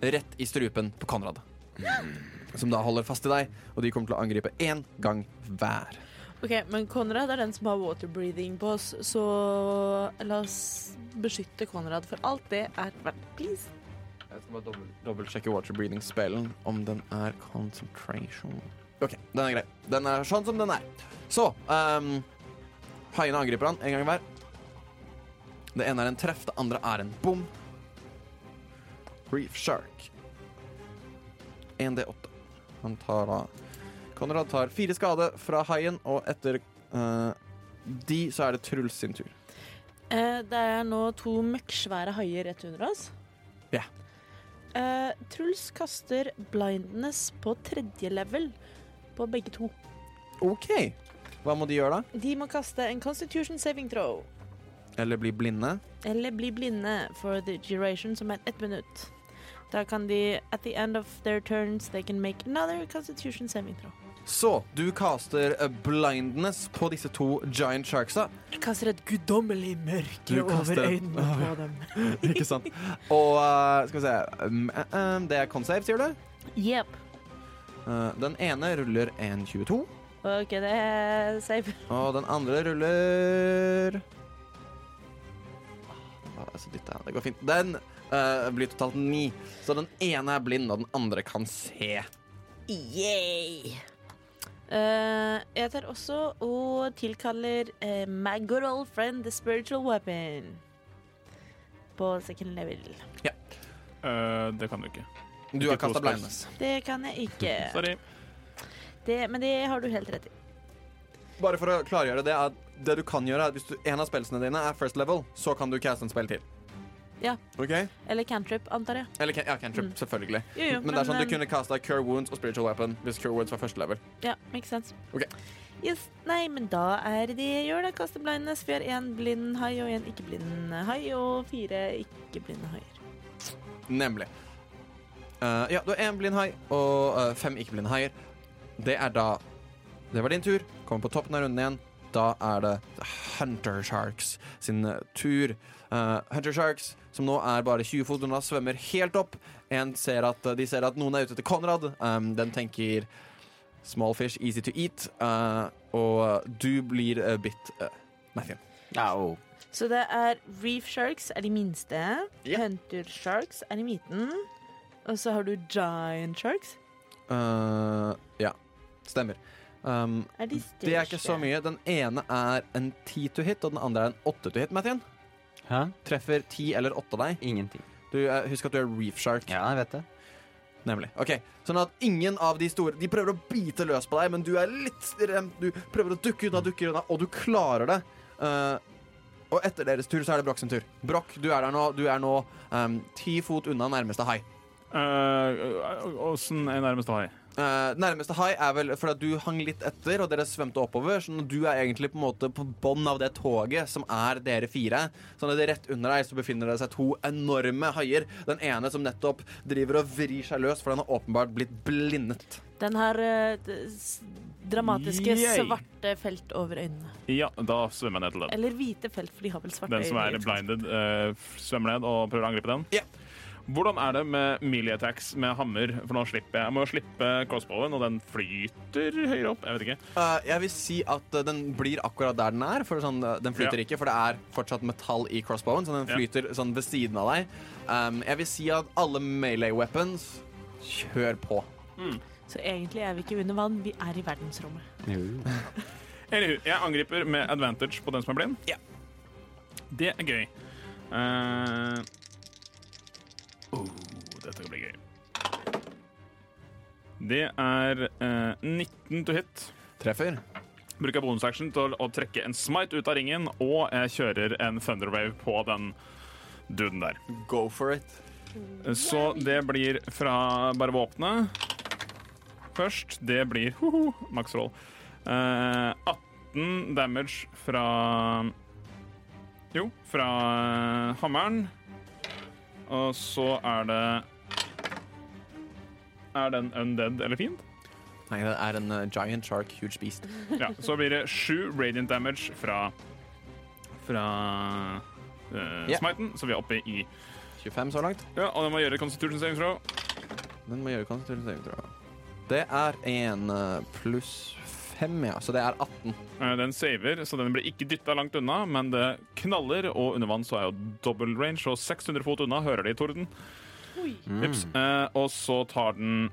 S5: rett i strupen på Konrad.
S2: Mm.
S5: Som da holder fast i deg, og de kommer til å angripe én gang hver.
S4: Ok, Men Konrad er den som har water breathing på oss, så la oss beskytte Konrad for alt det er verdt. Please.
S5: Jeg skal bare dobbel- dobbeltsjekke water breathing-spellen om den er concentration. OK, den er grei. Den er sånn som den er. Så ehm, Haiene angriper han en gang hver. Det ene er en treff, det andre er en bom. Reef Shark. 1D8. Han tar da Konrad tar fire skade fra haien, og etter eh, de så er det Truls sin tur.
S4: Eh, det er nå to møkksvære haier rett under oss.
S5: Ja.
S4: Eh, Truls kaster blindness på tredje level på begge to.
S5: OK. Hva må de gjøre, da?
S4: De må kaste en constitution saving throw.
S5: Eller bli blinde?
S4: eller bli blinde for the duration, som er ett minutt. Da kan de, at the end of their turns, they can make another constitution saving throw.
S5: Så du caster eh, blindness på disse to giant sharksa.
S4: Jeg kaster et guddommelig mørke
S5: Du kaster
S4: over
S5: et-
S4: øynene på dem.
S5: (laughs) Ikke sant? Og eh, skal vi se um, eh, eh, Det er consave, sier du?
S4: Yep.
S5: Eh, den ene ruller 1,22.
S4: OK, det er safe.
S5: Og den andre ruller Ah, altså, dette her, Det går fint. Den eh, blir totalt ni. Så den ene er blind, og den andre kan se.
S4: Yay! Eh, jeg tar også og tilkaller eh, my good old friend the spiritual weapon på second level.
S3: Eh, det kan du ikke.
S5: Du har kasta blindness.
S4: Det kan jeg ikke.
S5: (laughs)
S3: Sorry.
S4: Det, men det har du helt rett i.
S5: Bare for å klargjøre det, er at det du kan gjøre, er at hvis du, en av spelsene dine er first level, så kan du caste en spill til.
S4: Ja.
S5: Ok?
S4: Eller cantrip, antar jeg.
S5: Eller can- ja, cantrip,
S4: Mm.
S5: selvfølgelig.
S4: Jo, jo,
S5: men, det er sånn
S4: eh,
S5: du kunne kasta Cure Wounds og Spiritual Weapon hvis Cure Wounds var første level.
S4: Ja, makes sense.
S5: Ok.
S4: Yes, Nei, men da er det jeg gjør, da. Kaster blindness. Vi har én blind hai og én ikke-blind hai og fire ikke-blinde haier.
S5: Nemlig. Eh, ja, du har én blindhai og eh, fem ikke-blindhaier. Det er da Det var din tur. Kommer på toppen av runden igjen. Da er det Hunter Sharks sin eh, tur. Eh, Hunter Sharks, som nå er bare 20 fot unna, svømmer helt opp. En ser at, eh, de ser at noen er ute etter Konrad. Um, den tenker small fish, easy to eat. Eh, og du blir eh, bitt, eh, Matthew.
S2: Au.
S4: Så det er reef sharks er de minste.
S5: Ja.
S4: Hunter sharks er i midten. Og så har du giant sharks.
S5: Eh, ja, stemmer. Um,
S4: Er de
S5: Det er ikke så mye. Den ene er en 10 to hit, og den andre er en 8 to hit, Mathien.
S2: Hæ?
S5: Treffer 10 eller 8 deg.
S2: Ingenting.
S5: Du, eh, husk at du er reef shark.
S2: Ja, jeg vet det.
S5: Nemlig. Ok, Sånn at ingen av de store De prøver å bite løs på deg, men du er litt remt. Du prøver å dukke unna, dukker unna, og du klarer det. Eh, og etter deres tur så er det Brokk sin tur. Brokk, du er der nå. Du er nå ehm, ti fot unna nærmeste hai.
S3: Eh, Åssen er nærmeste hai?
S5: Eh, nærmeste hai er vel fordi at du hang litt etter, og dere svømte oppover. Sånn at du er egentlig på en måte på bånn av det toget som er dere fire. Sånn at rett under deg så befinner det seg to enorme haier. Den ene som nettopp driver og vrir seg løs, for den har åpenbart blitt blindet.
S4: Den har eh, d- s- dramatiske
S3: Yay.
S4: svarte felt over øynene.
S3: Ja, da svømmer jeg ned til den.
S4: Eller hvite felt, for de har vel svarte
S3: Den som er
S4: øyne. liksom.
S3: blinded, eh, svømmer ned og prøver å angripe den.
S5: Ja.
S3: Hvordan er det med melee attacks med hammer? For nå slipper jeg, jeg må jo slippe crossbowen, og den flyter høyere opp. Jeg vet ikke.
S5: Eh, jeg vil si at eh, den blir akkurat der den er. For sånn, eh, den flyter
S3: Ja.
S5: ikke, for det er fortsatt metall i crossbowen, så den
S3: Ja.
S5: flyter sånn ved siden av deg. Um, jeg vil si at alle melee weapons kjør på.
S4: Så egentlig er vi ikke under vann, vi er i verdensrommet.
S3: Anywho, jeg angriper med advantage på den som er blind.
S5: Ja.
S3: Det er gøy. Eh, oh, dette blir gøy. Det er eh, 19 to hit.
S5: Treffer.
S3: bruker bonusaction til å trekke en smite ut av ringen, og jeg kjører en thunderwave på den duden der.
S5: Go for it.
S3: Eh, Så det blir fra bare våpenet først. Det blir hoho, max roll. Eh, 18 damage fra Jo, fra eh, hammeren. Og så er det Er den undead eller fiend?
S5: Nei, det er en eh, giant shark, huge beast.
S3: Ja, så blir det sju radiant damage fra Fra eh,
S5: Ja.
S3: smiten, så vi er oppe i
S5: 25 så langt.
S3: Ja, og den må gjøre constitution saving throw.
S5: Den må gjøre konstitusjon, tror jeg. Det er en eh, pluss 5, ja. Så det er 18.
S3: Eh, den saver, så den blir ikke dytta langt unna, men det knaller, og under vann så er jo double range, og 600 fot unna hører de i torden.
S5: Mm.
S3: Ups. Eh, og så tar den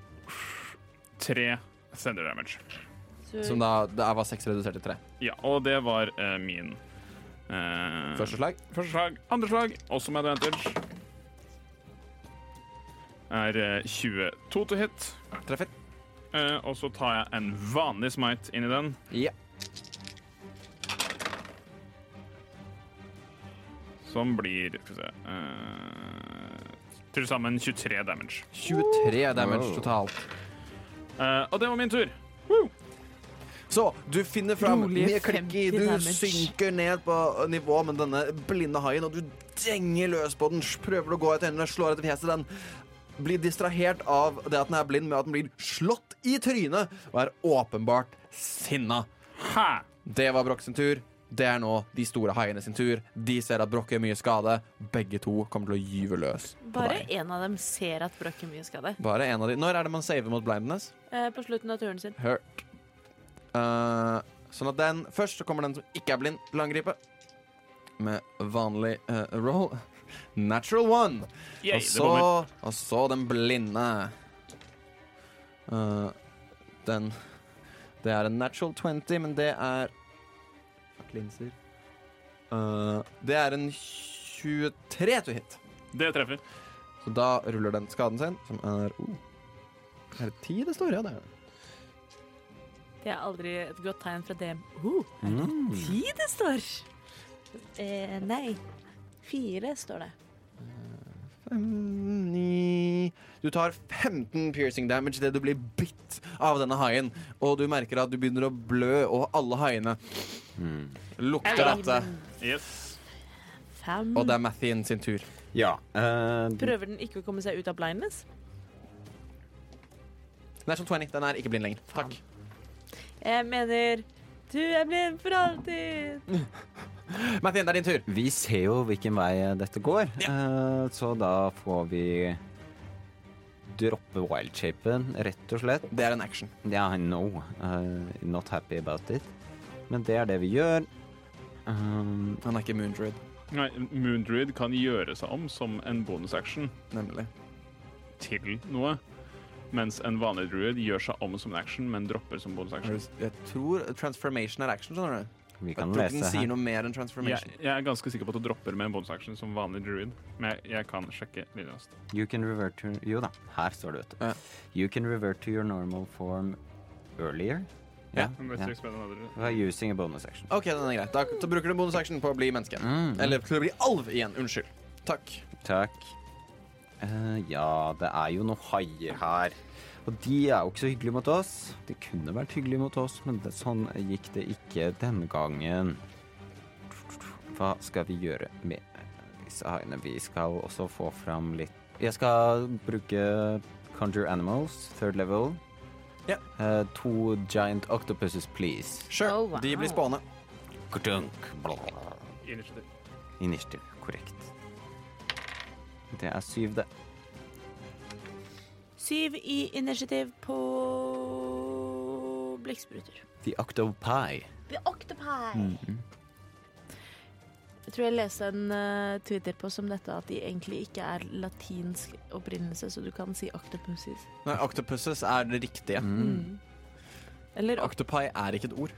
S3: tre thunder damage.
S4: Så
S5: Som da det er- var 6 redusert til 3.
S3: Ja, og det var eh, min eh,
S5: Første slag.
S3: Første slag, andre slag, også med advantage. Er eh, 22 to hit.
S5: Treffer.
S3: Eh, Og så tar jeg en vanlig smite inn i den.
S5: Ja.
S3: Som blir Skal vi se eh, Til sammen 23 damage.
S5: 23 damage
S2: Wow.
S5: totalt.
S3: Eh, og det var min tur.
S5: Så du finner fram
S4: Rolige
S5: med klikki,
S4: 50
S5: du
S4: damage.
S5: synker ned på eh, nivå med denne blinde haien, og du denger løs på den, prøver å gå etter henne, slår etter fjeset den. Blir distrahert av det at den er blind, med at den blir slått i trynet, og er åpenbart sinna.
S3: Hæ!
S5: Det var Brokk sin tur. Det er nå de store haiene sin tur. De ser at Brokk gjør mye skade. Begge to kommer til å gyve løs på
S4: bare
S5: deg.
S4: én av dem ser at Brokk er mye skade.
S5: Bare en av de. Når er det man saver mot blindness?
S4: Eh, på slutten av turen sin.
S5: Hurt. Eh, sånn at den først så kommer den som ikke er blind, til å angripe. Med vanlig eh, roll. Natural one.
S3: Yay,
S5: og,
S3: det
S5: så,
S3: bommer.
S5: og så den blinde. Eh, den Det er en natural 20, men det er Fuck, linser. Eh, det er en 23 to hit.
S3: Det treffer.
S5: Så da ruller den skaden sin, som er oh, Er det 10 det står? Ja, det er det.
S4: Det er aldri et godt tegn fra DM. Oh, er det
S5: Mm.
S4: ti det står? Eh, nei. Fire står det.
S5: Fem, ni Du tar 15 piercing damage idet du blir bitt av denne haien. Og du merker at du begynner å blø, og alle haiene lukter dette.
S3: Yes.
S4: Fem.
S5: Og det er Mathien sin tur.
S2: Ja. eh,
S4: Prøver den ikke å komme seg ut av blindness?
S5: Natural 20. Den er ikke blind lenger. Takk.
S4: Jeg mener Du er blind for (laughs) alltid!
S5: Martin, det er din tur.
S2: Vi ser jo hvilken vei dette går, eh, så da får vi droppe wildshapen, rett og slett.
S5: Det er en action.
S2: Yeah, I know. Uh, not happy about it. Men det er det vi gjør. Um,
S5: Han er ikke Moondroid,
S3: Nei, Moondruid kan gjøre seg om som en bonusaction
S5: nemlig.
S3: til noe, mens en vanlig druid gjør seg om som en action, men dropper som bonusaction.
S5: Jeg tror transformation er action, skjønner du.
S2: vi
S5: Jeg
S2: kan
S5: tror ikke
S2: lese
S5: den sier
S2: her.
S5: noe mer enn
S3: Jeg,
S5: transformation.
S3: jeg er ganske sikker på at du dropper med en bonusaction som vanlig druid, men jeg, jeg kan sjekke videoast.
S2: You can revert to Jo da, her står det, vet du.
S5: Ja.
S2: You can revert to your normal form earlier. Ja. ja. By using a bonus action.
S5: OK, den er grei. Da så bruker du en bonusaction på å bli menneske.
S2: Mm.
S5: Eller til å bli alv igjen. Unnskyld. Takk.
S2: Takk. Eh, ja, det er jo noen haier her. Og de er jo ikke så hyggelige mot oss. De kunne vært hyggelige mot oss, men det, sånn gikk det ikke denne gangen. Hva skal vi gjøre med disse haiene? Vi skal også få fram litt Jeg skal bruke Conjure Animals, third level.
S5: Ja.
S2: Eh, to giant octopuses, please.
S5: Sure.
S8: Oh, wow.
S5: De blir spående.
S2: Kudunk. Initiativ. Korrekt. Det er syv, det.
S4: Syv i initiativ på blekkspruter.
S2: The Octopi.
S5: Mm.
S4: Jeg tror jeg leste en eh, Twitter på som dette at de egentlig ikke er latinsk opprinnelse, så du kan si octopuses.
S5: Nei, octopuses er det riktige.
S4: Mm. Eller oct-
S5: Octopi er ikke et ord.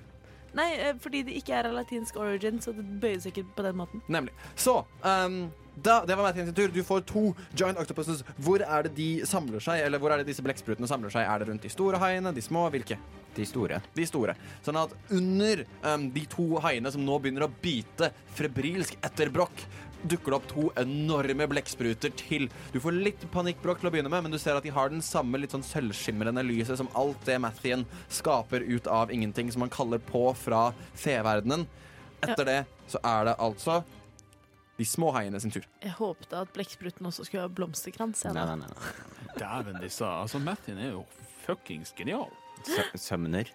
S4: Nei, eh, fordi det ikke er av latinsk origin, så det bøyer seg ikke på den måten.
S5: Nemlig. Så ehm, da, Det var Martin sin tur. Du får to giant octopuses. Hvor er det de samler seg? Eller hvor er det disse blekksprutene samler seg? Er det rundt de store haiene? De små? Hvilke?
S2: De store.
S5: De store. Sånn at under ehm, de to haiene som nå begynner å bite febrilsk etter brokk, dukker det opp to enorme blekkspruter til. Du får litt panikkbrokk til å begynne med, men du ser at de har den samme litt sånn sølvskimrende lyset som alt det Mathien skaper ut av ingenting, som han kaller på fra feverdenen. Etter det så er det altså de små haiene sin tur.
S4: Jeg håpte at blekkspruten også skulle ha blomsterkrans. jeg,
S2: Nei,
S4: da.
S2: nei, nei. nei.
S3: Dæven, disse Altså, Mattin er jo fuckings genial.
S2: Sø- Sømner.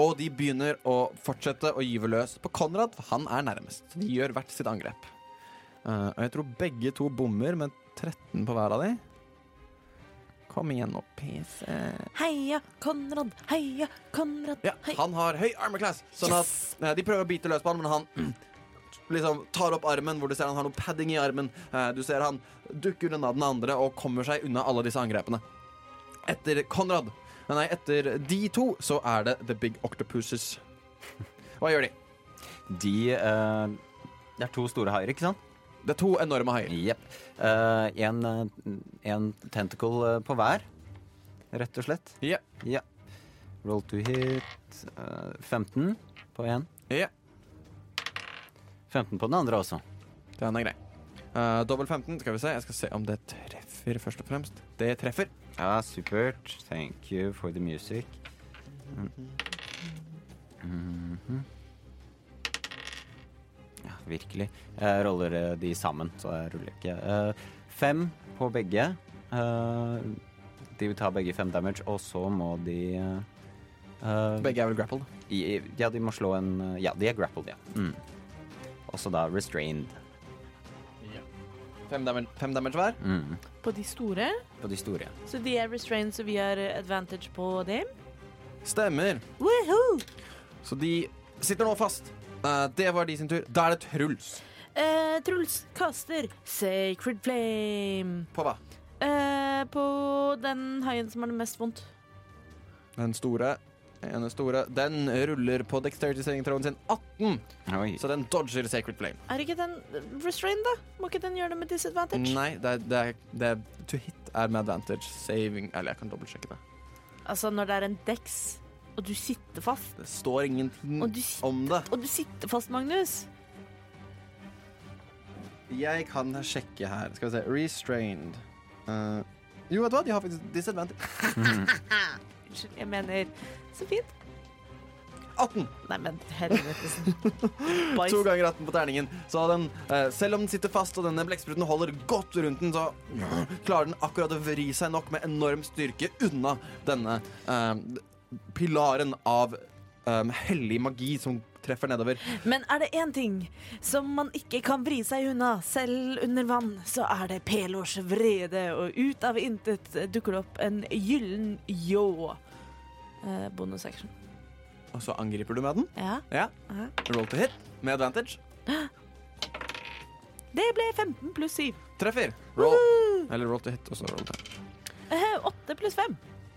S5: Og de begynner å fortsette å gyve løs på Konrad, for han er nærmest. De gjør hvert sitt angrep. Eh, og jeg tror begge to bommer med 13 på hver av de. Kom igjen nå, PC.
S4: Heia Konrad, heia Konrad,
S5: Ja,
S4: hei.
S5: han har høy armor class, sånn at eh, de prøver å bite løs på han, men han (clears throat) liksom tar opp armen, hvor du ser han har noe padding i armen. Eh, du ser han dukker unna den andre og kommer seg unna alle disse angrepene. Etter Konrad Nei, etter de to så er det The Big Octopuses. (laughs) Hva gjør de?
S2: De eh, Det er to store haier, ikke sant?
S5: Det er to enorme haier.
S2: Jepp. Eh, en, eh, en tentacle eh, på hver, rett og slett.
S5: Ja.
S2: Ja. Roll to hit. eh, 15 på én.
S5: Ja.
S2: 15 på den andre også.
S5: Den er grei. Uh, Dobbel 15, skal vi se. Jeg skal se om det treffer, først og fremst. Det treffer.
S2: Ja, supert. Thank you for the music. Mhm. Ja, virkelig. Jeg roller eh, de sammen, så jeg ruller ikke. Eh, fem på begge. Eh, de tar begge fem damage, og så må de eh, eh,
S5: Begge er vel grappled.
S2: i, Ja, de må slå en eh, Ja, de er grappled, ja. Mm. Også da restrained.
S5: Fem damage, fem damage hver.
S2: Mm.
S4: På de store.
S2: På de store.
S4: Så de er restrained, så vi har eh, advantage på dem.
S5: Stemmer.
S4: Woohoo!
S5: Så de sitter nå fast. Eh, det var de sin tur. Da er det Truls.
S4: Eh, Truls kaster Sacred Flame
S5: På hva?
S4: eh, på den haien som har det mest vondt.
S5: Den store. Den store. Den ruller på dexterity-tråden sin 18,
S2: Oi.
S5: så den dodger Sacred Flame.
S4: Er ikke den restrained, da? Må ikke den gjøre det med disadvantage?
S5: Nei, det er, det er, det er To hit er med advantage. Saving Eller jeg kan dobbeltsjekke det.
S4: Altså, når det er en dex, og du sitter fast,
S5: Det står
S4: og
S5: ingenting
S4: du, sit-
S5: om det.
S4: og du sitter fast, Magnus
S5: Jeg kan sjekke her. Skal vi se. Restrained. Eh, jo, vet du hva? De har faktisk disadvantage.
S4: Unnskyld, jeg mener Så fint.
S5: 18!
S4: Nei, men
S5: (laughs)
S4: helvetesen. Boys.
S5: To ganger 18 på terningen. Så den, eh, selv om den sitter fast og denne blekkspruten holder godt rundt den, så eh, klarer den akkurat å vri seg nok med enorm styrke unna denne eh, pilaren av eh, hellig magi som treffer nedover.
S4: Men er det én ting som man ikke kan vri seg unna, selv under vann, så er det Pelors vrede, og ut av intet dukker det opp en gyllen ljå. Eh, bonus action.
S5: Og så angriper du med den.
S4: Ja,
S5: Ja.
S4: Ja.
S5: Roll to hit med advantage.
S4: det ble 15 pluss 7.
S5: Treffer. Roll. Eller roll to hit, og så roll to hit.
S4: 8 Eh, pluss 5.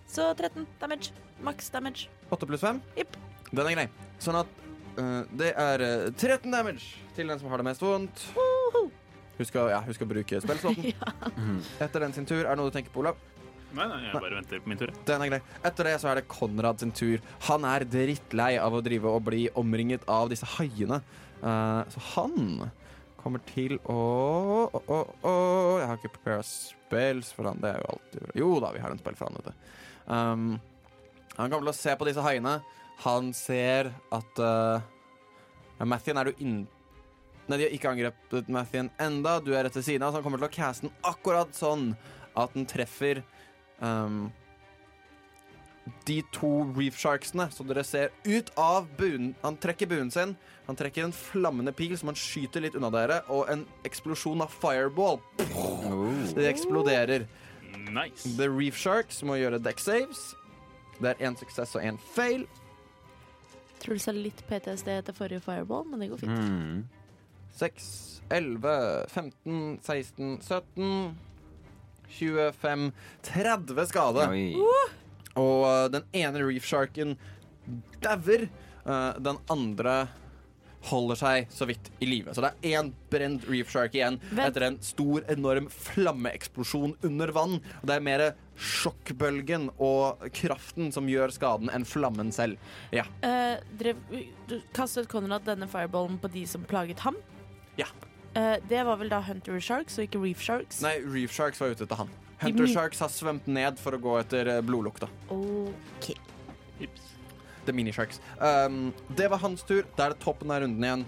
S4: Så 13 damage. Maks damage.
S5: 8 pluss 5.
S4: Jipp.
S5: Den er grei. Sånn at eh, det er eh, 13 damage til den som har det mest vondt.
S4: Woho!
S5: Husk å, ja, husk å bruke spillslåten. Etter den sin tur er det noe du tenker på, Olav.
S3: Nei, nei, jeg bare venter på min tur. jeg.
S5: Den er grei. Etter det så er det Konrad sin tur. Han er drittlei av å drive og bli omringet av disse haiene. Eh, så han kommer til å å, å, å, Jeg har ikke prepared spells for han. Det er jo alltid Jo da, vi har en spill for han, vet du. Um, han kommer til å se på disse haiene. Han ser at uh, Mathien er du inn... Nei, de har ikke angrepet Mathien enda. Du er rett ved siden av, så han kommer til å caste den akkurat sånn at den treffer um, de to reef sharksene som dere ser ut av buen. Han trekker buen sin. Han trekker en flammende pil som han skyter litt unna dere, og en eksplosjon av fireball. Det eksploderer.
S3: Nice.
S5: The Reef Sharks må gjøre deck saves. Det er én suksess og én fail.
S4: Truls har litt PTSD etter forrige fireball, men det går fint.
S2: Mm.
S5: 6, 11, 15, 16, 17 25, 30 skade.
S2: Oi.
S5: Og eh, den ene reef sharken dauer. Eh, den andre holder seg så vidt i live. Så det er én brent reef shark igjen
S4: Vent.
S5: etter en stor, enorm flammeeksplosjon under vann. Og det er mer sjokkbølgen og kraften som gjør skaden, enn flammen selv. Ja.
S4: Eh, drev, du kastet Konrad denne fireballen på de som plaget ham?
S5: Ja.
S4: Eh, det var vel da Hunter Sharks og ikke Reef Sharks?
S5: Nei, reef sharks var ute etter han.
S4: De
S5: Hunter
S4: my-
S5: sharks har svømt ned for å gå etter eh, blodlukta.
S4: OK.
S5: The mini sharks. Um, det var hans tur. Da er det toppen av runden igjen.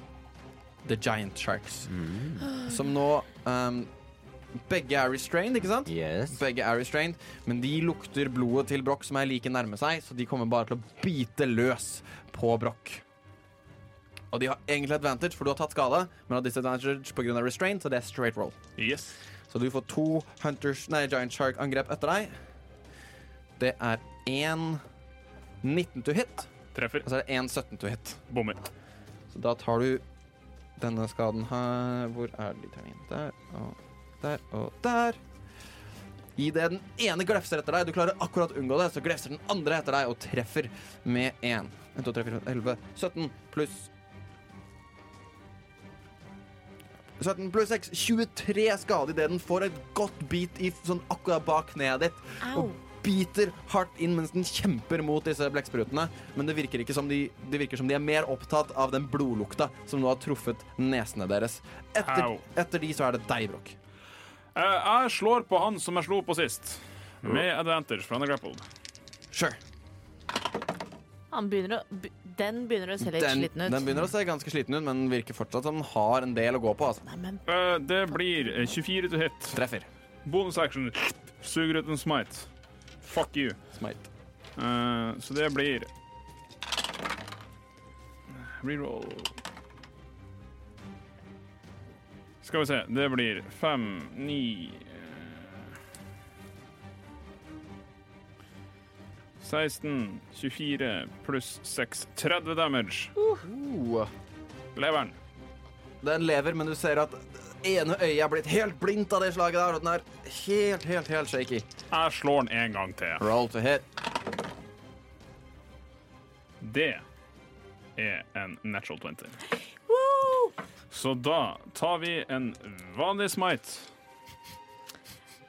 S5: The giant sharks. Som nå um, Begge er restrained, ikke sant?
S2: Yes.
S5: Begge er restrained, men de lukter blodet til Broch, som er like nærme seg, så de kommer bare til å bite løs på Broch. Og de har egentlig advantage, for du har tatt skade, men har disadvantage pga. restraint, så det er straight roll.
S3: Yes.
S5: Så du får to Hunters, nei, Giant Shark-angrep etter deg. Det er én 19 to hit,
S3: Treffer.
S5: og så er det én 17 to hit.
S3: Bommer.
S5: Så da tar du denne skaden her Hvor er de terningene? Der og der og der. Idet den ene glefser etter deg, du klarer akkurat å unngå det, så glefser den andre etter deg og treffer med én. 1, 2, 3, 4, 11, 17 pluss 17 pluss 6, 23 skade idet den får et godt bit i sånn akkurat bak kneet ditt
S4: Au.
S5: biter hardt inn mens den kjemper mot disse blekksprutene. Men det virker, ikke som de, det virker som de er mer opptatt av den blodlukta som nå har truffet nesene deres. Etter,
S3: Au.
S5: etter de så er det deg, Brokk.
S3: Eh, jeg slår på han som jeg slo på sist. Med advantage, for han er grappled.
S5: Sure.
S4: Han begynner å, be- den begynner å se litt
S5: Den,
S4: sliten ut.
S5: den begynner å se ganske sliten ut, men den virker fortsatt som den har en del å gå på. Altså.
S4: Nei, men
S3: Eh, det blir eh, 24 to hit.
S5: Treffer.
S3: Bonus action. Suger ut en smite. Fuck you.
S5: Smite.
S3: Eh, så det blir Reroll. Skal vi se. Det blir fem, ni eh, 16, 24 pluss 6 30 damage.
S5: Uh,
S3: Leveren.
S5: den lever, men du ser at ene øyet er blitt helt blindt av det slaget der, og den er helt, helt, helt shaky.
S3: Jeg slår den en gang til.
S5: Roll to hit.
S3: Det er en natural 20.
S4: Woo!
S3: Så da tar vi en vanlig smite,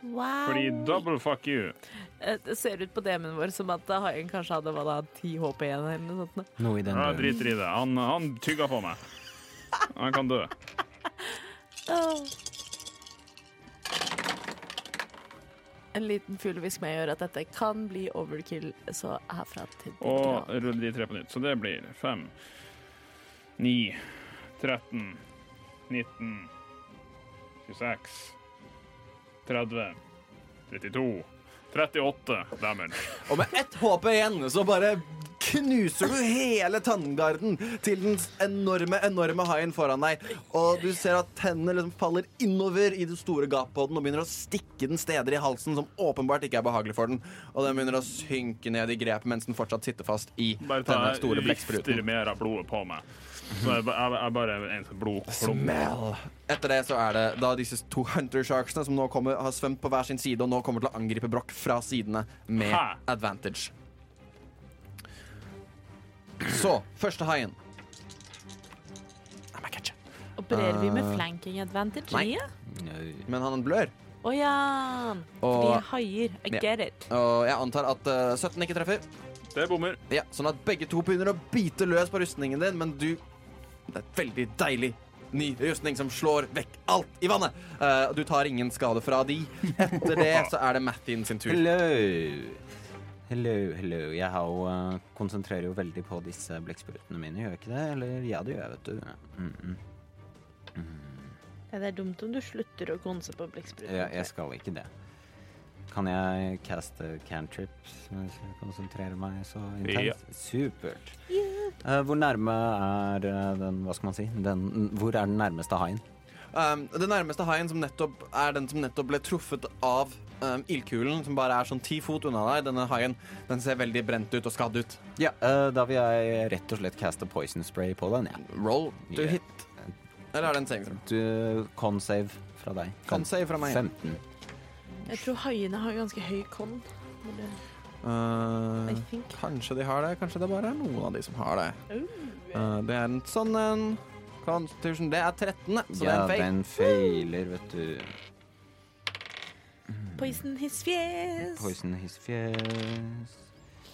S4: Wow.
S3: fordi double fuck you.
S4: Eh, Det ser ut på DM-en vår som at haien kanskje hadde hva da, 10 HP igjen eller noe sånt. nå.
S2: Noe i den
S3: Jeg
S2: duren.
S3: driter i det. Han, han tygger på meg. Han kan dø.
S4: Åh. En liten fuglehvisk med gjør at dette kan bli overkill, så herfra til de
S3: Og
S4: grader.
S3: rulle de tre på nytt. Så det blir 5, 9, 13, 19, 26, 30, 32, 38 damage.
S5: Og med ett HP igjen så bare knuser du hele tanngarden til den enorme enorme haien foran deg. Og du ser at tennene liksom faller innover i det store gapet på den og begynner å stikke den steder i halsen som åpenbart ikke er behagelig for den. Og den begynner å synke ned i grepet mens den fortsatt sitter fast i
S3: Bare ta
S5: denne store
S3: vifter
S5: blekkspruten.
S3: mer av blodet på meg. Så jeg, ba- jeg, jeg bare en sånn blodklump.
S5: Smell. Etter det så er det da disse to hunter sharksene som nå kommer, har svømt på hver sin side og nå kommer til å angripe Broch fra sidene med
S3: Hæ?
S5: advantage. Så, første haien. Nei, men catch.
S4: Opererer vi
S2: Eh,
S4: med flanking advantage?
S5: Nei.
S4: Ja.
S5: Men han blør,
S4: Å ja.
S5: Og-
S4: Vi haier. I
S5: Ja.
S4: get it.
S5: og jeg antar at eh, 17 ikke treffer.
S3: Det bommer.
S5: Ja, Sånn at begge to begynner å bite løs på rustningen din, men du Det er veldig deilig. Ny rustning som slår vekk alt i vannet. Eh, og du tar ingen skade fra de. Etter det så er det Mathien sin tur.
S2: Hello. Hello, hello. Jeg har jo, eh, konsentrerer jo veldig på disse blekksprutene mine, gjør jeg ikke det? Eller ja, det gjør jeg, vet du. Mm -mm.
S4: Ja, det er dumt om du slutter å konse på blekkspruten.
S2: Ja, jeg skal ikke det. Kan jeg caste cantrips mens jeg konsentrerer meg så intenst? Supert. Eh, hvor nærme er eh, den, hva skal man si, den, hvor er den nærmeste haien?
S5: Um, det nærmeste haien som nettopp er den som nettopp ble truffet av um, ildkulen, som bare er sånn ti fot unna deg. Denne haien den ser veldig brent ut og skadd ut.
S2: Ja, eh, da vil jeg rett og slett caste poison spray på den, ja.
S5: Roll to
S2: Yeah.
S5: hit. Eller er det en saving?
S2: Du, con save fra deg.
S5: Con save fra meg.
S2: 15.
S4: Jeg tror haiene har ganske høy con.
S5: Uh,
S4: I think.
S5: kanskje de har det. Kanskje det bare er noen av de som har det.
S4: Oh.
S5: Uh, det er en sånn en Constitution Det er 13, så det er
S2: Ja,
S5: en fake.
S2: den feiler, vet du.
S4: Poison his fjes.
S2: Poison his fjes.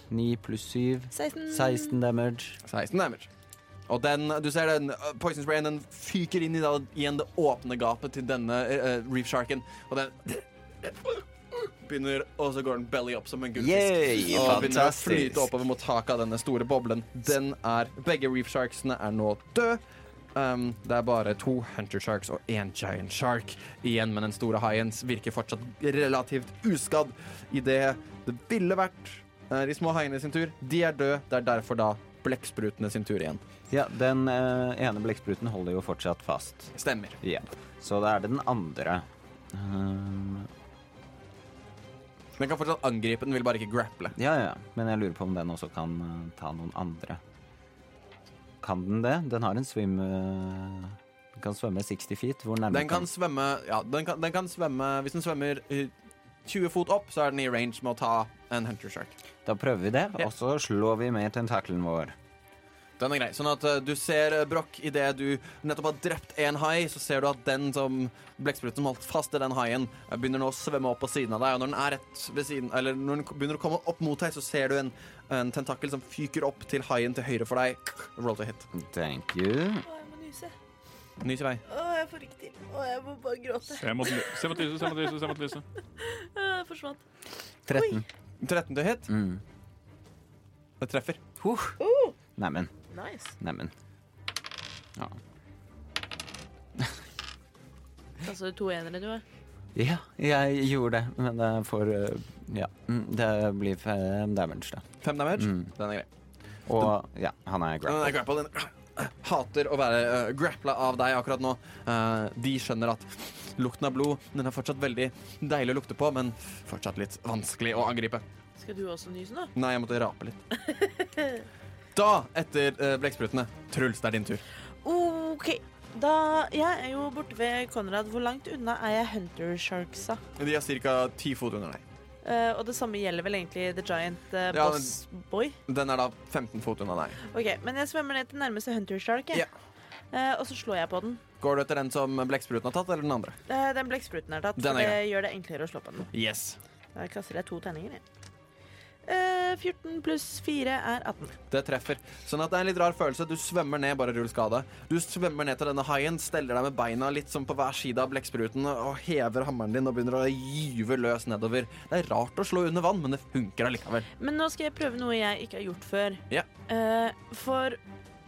S2: 9 pluss 7.
S4: 16.
S2: 16 damage.
S5: 16 damage. Og den, du ser den, uh, Poison Sprayen den fyker inn i, da, igjen det åpne gapet til denne uh, reef sharken, og den begynner, og så går den belly opp som en gullfisk.
S2: Yay,
S5: og begynner å
S2: fantastisk.
S5: flyte oppover mot taket av denne store boblen. Den er, begge reef sharksene er nå døde. Um, det er bare to hunter sharks og én giant shark igjen, men den store haien virker fortsatt relativt uskadd idet det ville vært eh, de små haiene sin tur. De er døde. Det er derfor da blekksprutene sin tur igjen.
S2: Ja, den eh, ene blekkspruten holder jo fortsatt fast.
S5: Stemmer.
S2: Ja. Så det er den andre. Um,
S5: Den kan fortsatt angripe, den vil bare ikke grapple.
S2: ja, ja. Men jeg lurer på om den også kan eh, ta noen andre. Kan den det? Den har en svim... eh, den kan svømme 60 feet. Hvor nærme
S5: Den kan svømme Ja, den kan, den kan svømme Hvis den svømmer eh, 20 fot opp, så er den i range med å ta en hunter shark.
S2: Da prøver vi det,
S5: Ja.
S2: og så slår vi med tentakelen vår.
S5: Den er grei. Sånn at eh, du ser, eh, Broch, idet du nettopp har drept én hai, så ser du at den som blekkspruten som holdt fast i den haien, eh, begynner nå å svømme opp på siden av deg. Og når den er rett ved siden Eller når den k- begynner å komme opp mot deg, så ser du en, en tentakel som fyker opp til haien til høyre for deg. Roll to hit.
S2: Thank you.
S4: Å, jeg må nyse.
S5: Nys i vei.
S4: Å, jeg får ikke til. Å, jeg må bare gråte.
S3: Se mot ly- se mot lyset, se mot lyset, se mot lyset.
S4: Å, jeg forsvant.
S2: 13.
S5: 13 til hit.
S2: Mm.
S5: Det treffer.
S2: Neimen,
S4: Nice.
S2: neimen. Ja.
S4: Altså to enere, du, er.
S2: Ja, jeg gjorde det, men det får eh, Ja. mm, Det blir eh, fem damage, da.
S5: Fem damage.
S2: Mm.
S5: Den er grei.
S2: Og ja, han er
S1: Øh,
S5: Den
S2: grappled.
S5: er grapple, den (clears throat) hater å være uh, grappla av deg akkurat nå. Eh, de skjønner at lukten av blod Den er fortsatt veldig deilig å lukte på, men fortsatt litt vanskelig å angripe.
S4: Skal du også nyse nå?
S5: Nei, jeg måtte rape litt. Da, etter uh, blekksprutene, Truls, det er din tur.
S4: OK. Da, jeg er jo borte ved Konrad. Hvor langt unna er jeg Hunter Sharks, da?
S5: De er ca. ti fot under deg.
S4: Eh, og det samme gjelder vel egentlig The Giant eh,
S5: Ja, men-
S4: Boss Boy.
S5: Den er da 15 fot unna deg.
S4: Ok, Men jeg svømmer ned til nærmeste Hunter Shark, jeg. Eh, og så slår jeg på den.
S5: Går du etter den som blekkspruten har tatt, eller den andre?
S4: Eh, den blekkspruten er tatt,
S5: Den
S4: for
S5: er
S4: det gjør det enklere å slå på den.
S5: Yes.
S4: Da kaster jeg to terninger, jeg. Eh, 14 pluss 4 er 18.
S5: Det treffer. Sånn at det er en litt rar følelse. Du svømmer ned, bare rull skade. Du svømmer ned til denne haien, steller deg med beina litt som på hver side av blekkspruten og hever hammeren din og begynner å gyve løs nedover. Det er rart å slå under vann, men det funker allikevel.
S4: Men nå skal jeg prøve noe jeg ikke har gjort før.
S5: Ja.
S4: Eh, for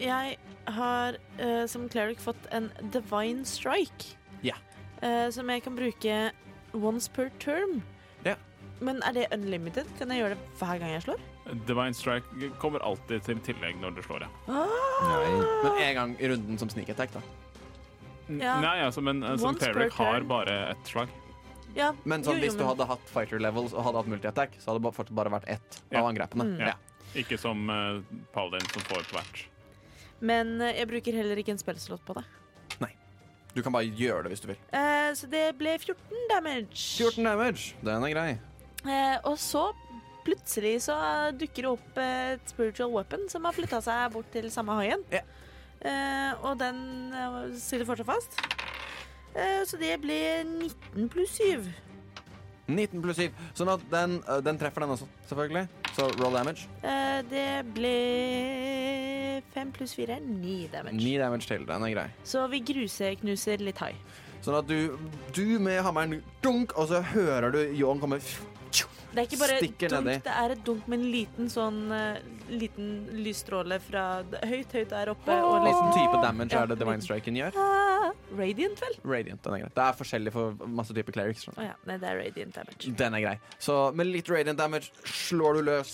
S4: jeg har eh, som cleric fått en divine strike.
S5: Ja.
S4: Eh, som jeg kan bruke once per term.
S5: Ja.
S4: Men er det unlimited? Kan jeg gjøre det hver gang jeg slår?
S3: Divine Strike kommer alltid til tillegg når du slår, ja.
S2: Nei.
S5: Men en gang i runden som sneak attack, da.
S3: N-
S4: Ja.
S3: Nei, altså, men eh, som
S4: Once per
S3: Terek har
S4: turn.
S3: bare ett slag.
S4: Ja,
S5: Men
S4: jo,
S5: sånn,
S4: jo,
S5: hvis du
S4: men-
S5: hadde hatt fighter levels og hadde hatt multi-attack, så hadde det bare- fortsatt bare vært ett
S3: Ja.
S5: av angrepene.
S4: Mm.
S5: Ja.
S3: Ikke som uh, Paladin som får hvert.
S4: Men eh, jeg bruker heller ikke en spillslott på det.
S5: Du kan bare gjøre det hvis du vil.
S4: Eh, så det ble 14 damage.
S5: 14 damage. Den er grei.
S4: Eh, og så plutselig så eh, dukker det opp eh, et spiritual weapon som har flytta seg bort til samme haien.
S5: Ja.
S4: Eh, og den eh, sitter fortsatt fast. Eh, så det ble 19 pluss 7.
S5: 19 pluss 7. Sånn at den, øh, den treffer den også, selvfølgelig. Så roll damage.
S4: Eh, det ble 5 pluss 4 er 9 damage.
S5: 9 damage til. Den er grei.
S4: Så vi gruseknuser litt hai.
S5: Sånn at du, du med hammeren dunk, og så hører du Ljåen komme f-
S4: Det er ikke bare
S5: Stikker
S4: dunk,
S5: nedi.
S4: det er et dunk med en liten sånn eh, liten lysstråle fra høyt, høyt der oppe. Og
S5: Hvilken
S4: liksom
S5: type damage
S4: Ja,
S5: er det Divine
S4: liten.
S5: Striken gjør?
S4: Ah, Radiant, vel?
S5: Radiant, den er grei. Det er forskjellig for masse typer clerics.
S4: Å
S5: Skjønner.
S4: ja. Nei, det er radiant damage.
S5: du. Den er grei. Så med litt radiant damage slår du løs.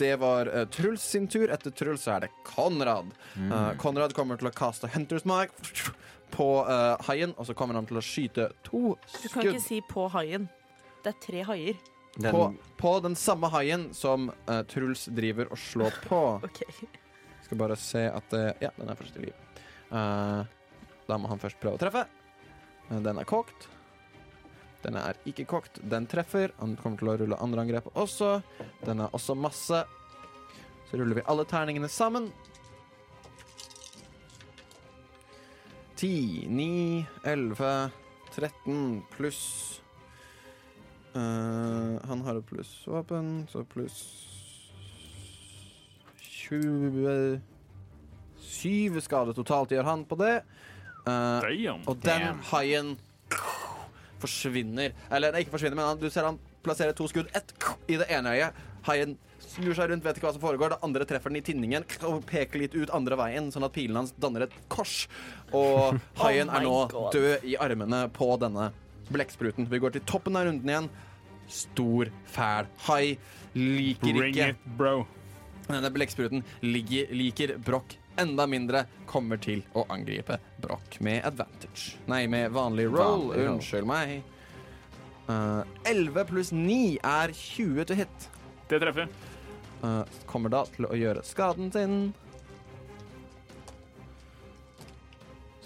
S5: Det var eh, Truls sin tur. Etter Truls så er det Konrad. Eh, Konrad kommer til å kaste Hunters Mark på eh, haien, og så kommer han til å skyte to
S4: Du kan ikke
S5: skudd
S4: si på haien. Det er tre haier.
S5: på,
S2: Den,
S5: på den samme haien som eh, Truls driver og slår på.
S4: Ok.
S5: Skal bare se at det, Ja, den er fortsatt i live. Eh, da må han først prøve å treffe. Eh, Den er kokt. Den er ikke kokt. Den treffer. Han kommer til å rulle andre angrep også. Den er også masse. Så ruller vi alle terningene sammen. 10, 9, 11, 13 pluss eh, Han har et plussvåpen, så pluss 27 skade totalt gjør han på det. Eh,
S3: Damn!
S5: og den
S2: Damn.
S5: haien forsvinner. Eller nei, ikke forsvinner, men han, du ser han plasserer to skudd. Ett i det ene øyet. Haien snur seg rundt, vet ikke hva som foregår. Det andre treffer den i tinningen og peker litt ut andre veien, sånn at pilen hans danner et kors. Og haien
S4: my
S5: er nå
S4: God.
S5: død i armene på denne blekkspruten. Vi går til toppen av runden igjen. Stor, fæl hai. Liker
S3: Bring
S5: ikke
S3: it, bro.
S5: denne blekkspruten. Ligger, liker Broch enda mindre. Kommer til å angripe Broch med advantage. Nei, med vanlig roll.
S2: Vanlig roll.
S5: Unnskyld meg. Eh, 11 pluss 9 er 20 til hit.
S3: Det treffer.
S5: Eh, kommer da til å gjøre skaden sin.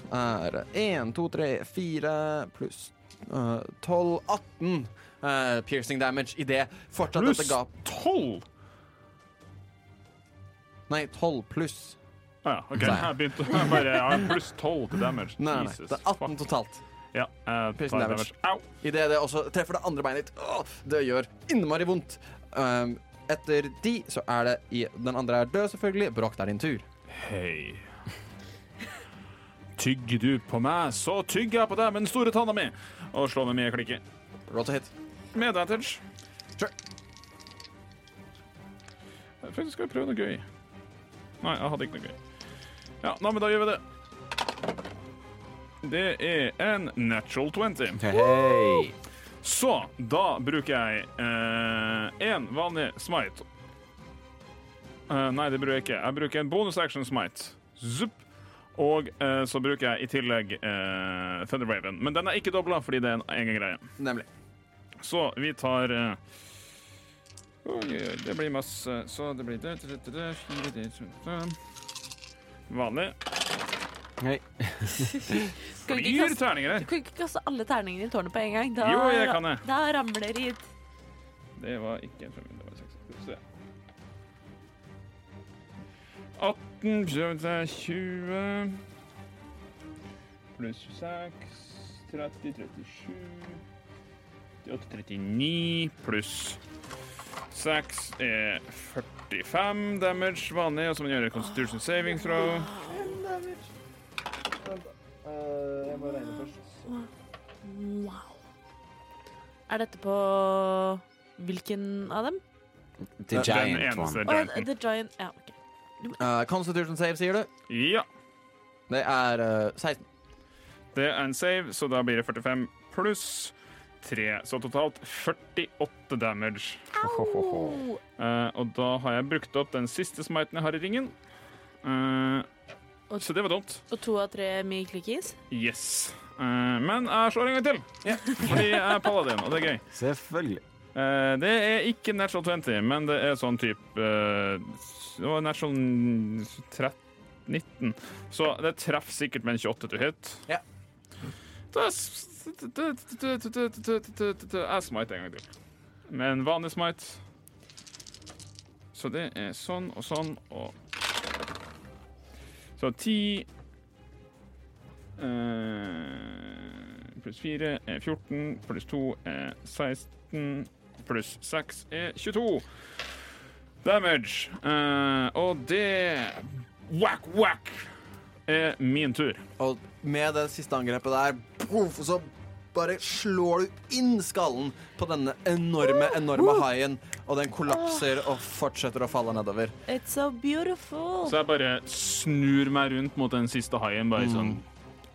S5: Som er 1, 2, 3, 4 pluss eh, 12 18 eh, piercing damage i det. Fortsatt
S3: Pluss
S5: dette gap.
S3: tolv!
S5: Nei, 12 pluss
S3: Ah, ja, OK.
S5: Nei.
S3: Jeg begynte jeg bare ja, Pluss tolv til damage.
S5: Nei, nei,
S3: Jesus.
S5: det er 18
S3: fuck.
S5: totalt.
S3: Ja, eh,
S5: Piercing
S3: tar
S5: damage.
S3: damage. Au!
S5: Idet det også treffer det andre beinet ditt. Åh, det gjør innmari vondt. Um, etter de så er det i Den andre er død, selvfølgelig. Bråk, det er din tur.
S3: Hei. Tygger du på meg, så tygger jeg på deg med den store tanna mi. Og slå med mye klikker.
S5: Roll to hit.
S3: Med advantage.
S5: Sure.
S3: Jeg tenkte jeg skulle prøve noe gøy. Nei, jeg hadde ikke noe gøy. Ja, nei, men da gjør vi det. Det er en natural 20.
S2: hei!
S3: Så da bruker jeg én vanlig smite. Eh, nei, det bruker jeg ikke. Jeg bruker en bonus action smite. Zup. Og eh, så bruker jeg i tillegg uh, Thunder Raven. Men den er ikke dobla fordi det er en egen greie.
S5: Nemlig.
S3: Så vi tar eh, oi, oi, Det blir masse. Så det blir det, det, det, det, fire, det, det, det. Vanlig.
S2: Hei.
S4: Skal vi ikke
S3: Dyr
S4: kaste,
S3: terninger her.
S4: du kan ikke kaste alle terningene i tårnet på en gang. Da,
S3: Jo, jeg kan det.
S4: da ramler det hit.
S3: Det var ikke en femmer, det var en sekser. Skal vi se. 18 pluss 20 pluss 26 30, 37 38, 39 pluss Seks er 45 damage vanlig, og så må man gjøre Constitution saving throw.
S4: Wow. Er dette på hvilken av dem?
S2: The
S3: Den
S2: giant
S3: eneste
S2: one.
S4: Å, ja,
S3: gianten.
S4: The Giant. Ja, ok.
S5: Eh, Constitution save, sier du?
S3: Ja,
S5: Det er eh, 16.
S3: det er en save, så da blir det 45 pluss 3. Så totalt 48 damage.
S4: Au!
S3: Eh, og da har jeg brukt opp den siste smiten jeg har i ringen. Eh,
S4: Og-
S3: så det var dumt.
S4: Og to av tre miklikis.
S3: Yes. Eh, men jeg slår en gang til, fordi jeg er paladin, og det er gøy.
S2: Selvfølgelig.
S3: Eh, det er ikke natural 20, men det er sånn type eh, Det var natural 13, 19. Så det treffer sikkert med en 28 to hit.
S5: Ja.
S3: Da s- Jeg smiter en gang til. Med en vanlig smite. Så det er sånn og sånn og Så ti eh, Pluss fire er 14, pluss to er 16, pluss seks er 22. Damage. Eh, og det Whack, whack er min tur.
S5: Og med det siste angrepet der, poff, så bare slår du inn skallen på denne enorme, enorme haien, og den kollapser og fortsetter å falle nedover.
S4: It's so beautiful.
S3: Så jeg bare snur meg rundt mot den siste haien,
S5: Mm.
S3: bare sånn.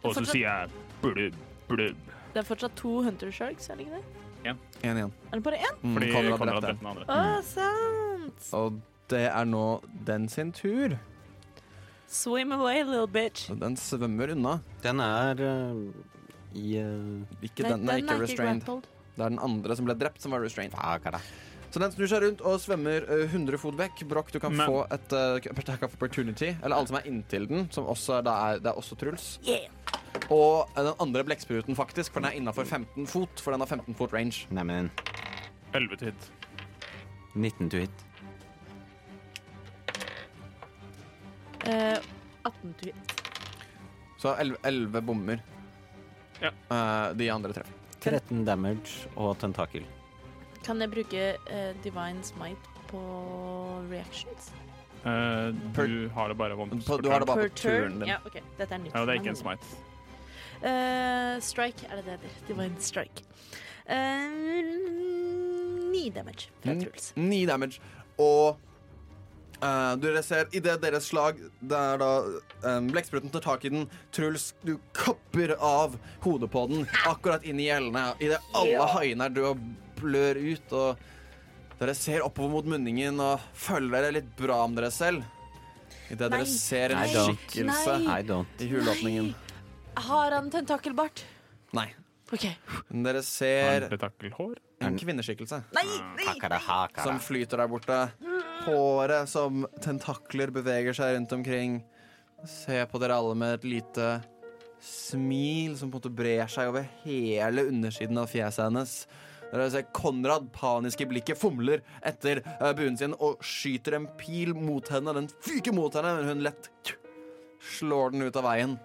S3: Og så
S4: Fortsatt-
S3: sier jeg blubb, blubb.
S4: Det er fortsatt to Hunter Sharks, er det ikke det?
S5: Én igjen.
S4: Er det bare én?
S5: Mm,
S3: Fordi
S5: Konrad
S3: Konrad
S5: har drept
S3: har drept
S5: den.
S3: den andre.
S4: Å,
S5: Mm.
S4: sant!
S5: Og det er nå den sin tur.
S4: Swim away, little bitch.
S5: Så den svømmer unna.
S2: Den er eh, i eh,
S5: Ikke den, er ikke restrained.
S4: grappled.
S5: Det er den andre som ble drept, som var restrained.
S2: Ah,
S5: Så den snur seg rundt og svømmer eh, 100 fot vekk. Brokk, du kan
S3: Men-
S5: få et eh, attack of opportunity. Eller alle som er inntil den, som også er, det er, det er også Truls.
S4: Yeah.
S5: Og eh, den andre blekkspruten, faktisk, for den er innafor 15 fot. For den har 15 fot range.
S2: Neimen
S3: 11 til hit.
S2: 19 to hit.
S4: Eh, 18 to hit.
S5: Så 11, 11 bommer.
S3: Ja.
S5: Eh, de andre treffer.
S2: 13 damage og tentakel.
S4: Kan jeg bruke eh, Divine Smite på reactions?
S3: Eh,
S5: Per-
S3: du har det bare vondt.
S5: På- Du har det bare
S4: Per
S5: på turen din.
S4: Ja, ok. Dette er nytt.
S3: Ja, det
S4: for
S3: er ikke
S4: meg,
S3: en smite.
S4: nemlig. Eh, strike, er det det heter? Divine Strike. Eh, Ni damage fra
S5: Mm.
S4: Truls.
S5: 9 damage. Og eh, dere ser idet deres slag Det er da eh, blekkspruten tar tak i den. Truls, du kapper av hodet på den akkurat inn i gjellene. Idet alle haiene er døde og blør ut. Og dere ser oppover mot munningen og føler dere litt bra om dere selv. Idet
S4: Nei.
S5: dere ser en
S2: Nei, da.
S5: skikkelse
S4: Nei.
S2: I don't.
S5: i hulåpningen.
S4: Har han tentakelbart?
S5: Nei.
S4: OK.
S5: Men dere
S3: Har
S5: ser
S3: en Petakelhår.
S5: en kvinneskikkelse.
S4: Nei,
S3: Mm,
S4: nei,
S2: Hakara, hakara.
S5: som flyter der borte. Håret som tentakler beveger seg rundt omkring. Se på dere alle med et lite smil som på en måte brer seg over hele undersiden av fjeset hennes. Dere ser Konrad panisk i blikket, fomler etter eh, buen sin og skyter en pil mot henne. Den fyker mot henne, men hun lett slår den ut av veien.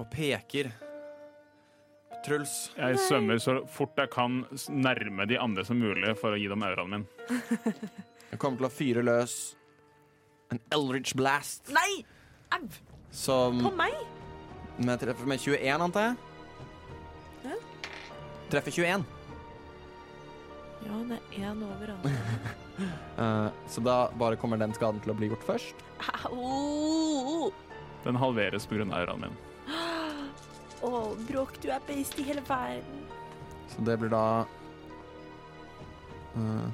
S5: Og peker. Truls.
S3: Jeg svømmer så fort jeg kan s- nærme de andre som mulig for å gi dem auraen min.
S5: Jeg kommer til å fyre løs en Eldridge Blast
S4: nei! Au!
S5: som
S4: På meg?
S5: med, treffer med 21, antar jeg.
S4: Hæ?
S5: Treffer 21.
S4: Ja, han er én over alle.
S5: Eh, så da bare kommer den skaden til å bli gjort først.
S4: Au!
S3: Den halveres pga. auraen min.
S4: Å, Bråk, du er best i hele verden.
S5: Så det blir da eh,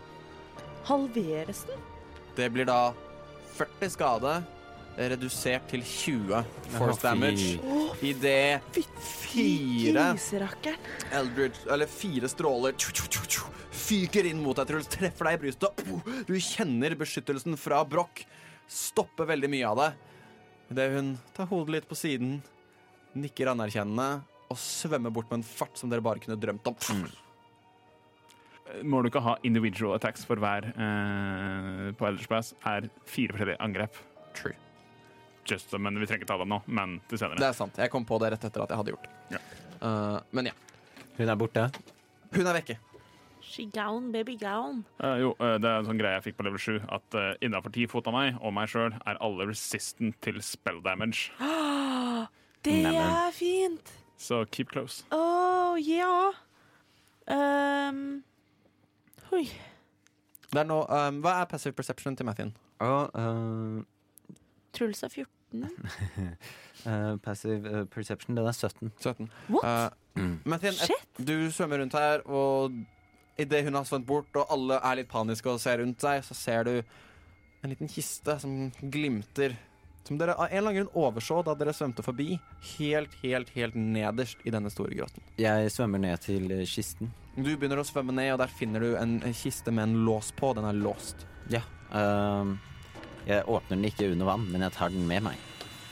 S4: Halveres den?
S5: Det blir da 40 skade, redusert til 20 force
S2: Å, fy.
S5: damage. I det fire
S4: Griserakkeren.
S5: Eldridge, eller fire stråler tju, tju, tju, tju, fyker inn mot deg, Truls, treffer deg i brystet. Oh, Du kjenner beskyttelsen fra Broch. Stopper veldig mye av det. Idet hun tar hodet litt på siden, nikker anerkjennende og svømmer bort med en fart som dere bare kunne drømt om.
S3: Må du ikke ha individual attacks for hver eh, på Elders Pass, er fire forskjellige angrep.
S5: True.
S3: Just, men Vi trenger ikke ta dem nå, men til
S5: Det
S3: senere.
S5: er sant. Jeg kom på det rett etter at jeg hadde gjort det. Eh, men ja.
S2: Hun er borte.
S5: Hun er vekke.
S4: She gown, baby gown.
S3: Eh, jo, eh, det er en sånn greie jeg fikk på level 7, at uh, innafor ti fot av meg og meg sjøl er alle resistant til spell damage.
S4: Det
S2: Neimen.
S4: er fint!
S3: Så keep close.
S4: Å, ja. Ehm, oi.
S5: Det er nå, um, hva er passive perception til Mathien?
S2: Og eh,
S4: Truls er 14.
S2: eh, passive eh, perception, den er 17.
S5: 17.
S4: What?
S5: Eh,
S1: Mm.
S5: Mathien, et-
S4: Shit!
S5: du svømmer rundt her, og idet hun har svømt bort, og alle er litt paniske og ser rundt seg, så ser du en liten kiste som glimter. Som dere av en eller annen grunn overså da dere svømte forbi, helt, helt, helt nederst i denne store grotten.
S2: Jeg svømmer ned til eh, kisten.
S5: Du begynner å svømme ned, og der finner du en en kiste med en lås på. Den er låst.
S2: Ja. eh, jeg åpner den ikke under vann, men jeg tar den med meg.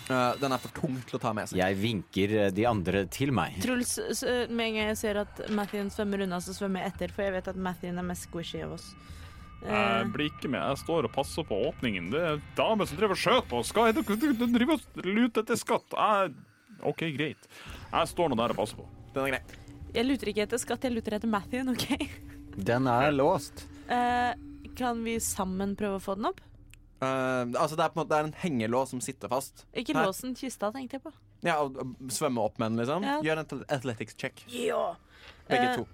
S5: Eh, den er for tung til å ta med seg.
S2: Jeg vinker eh, de andre til meg.
S4: Truls, s- eh, med en gang jeg ser at Mathien svømmer unna, så svømmer jeg etter, for jeg vet at Mathien er mest squishy av oss. Eh,
S3: Jeg blir ikke med. Jeg står og passer på åpningen. Det er damer som driver og skjøt på oss. Skal jeg du- du- du driver og luter etter skatt? Jeg... OK, greit. Jeg står nå der og passer på.
S5: Den er grei.
S4: jeg luter ikke etter skatt, jeg luter etter Mathien, OK?
S2: Den er låst.
S4: Eh, kan vi sammen prøve å få den opp?
S5: Eh, altså det, er på en måte, det er en hengelås som sitter fast.
S4: Ikke
S5: Nei.
S4: låsen, kista tenkte jeg på.
S5: Ja, og, og Svømme opp med den, liksom.
S4: Ja.
S5: Gjør en athl- athletics check,
S4: Ja!
S5: begge
S4: Eh,
S5: to.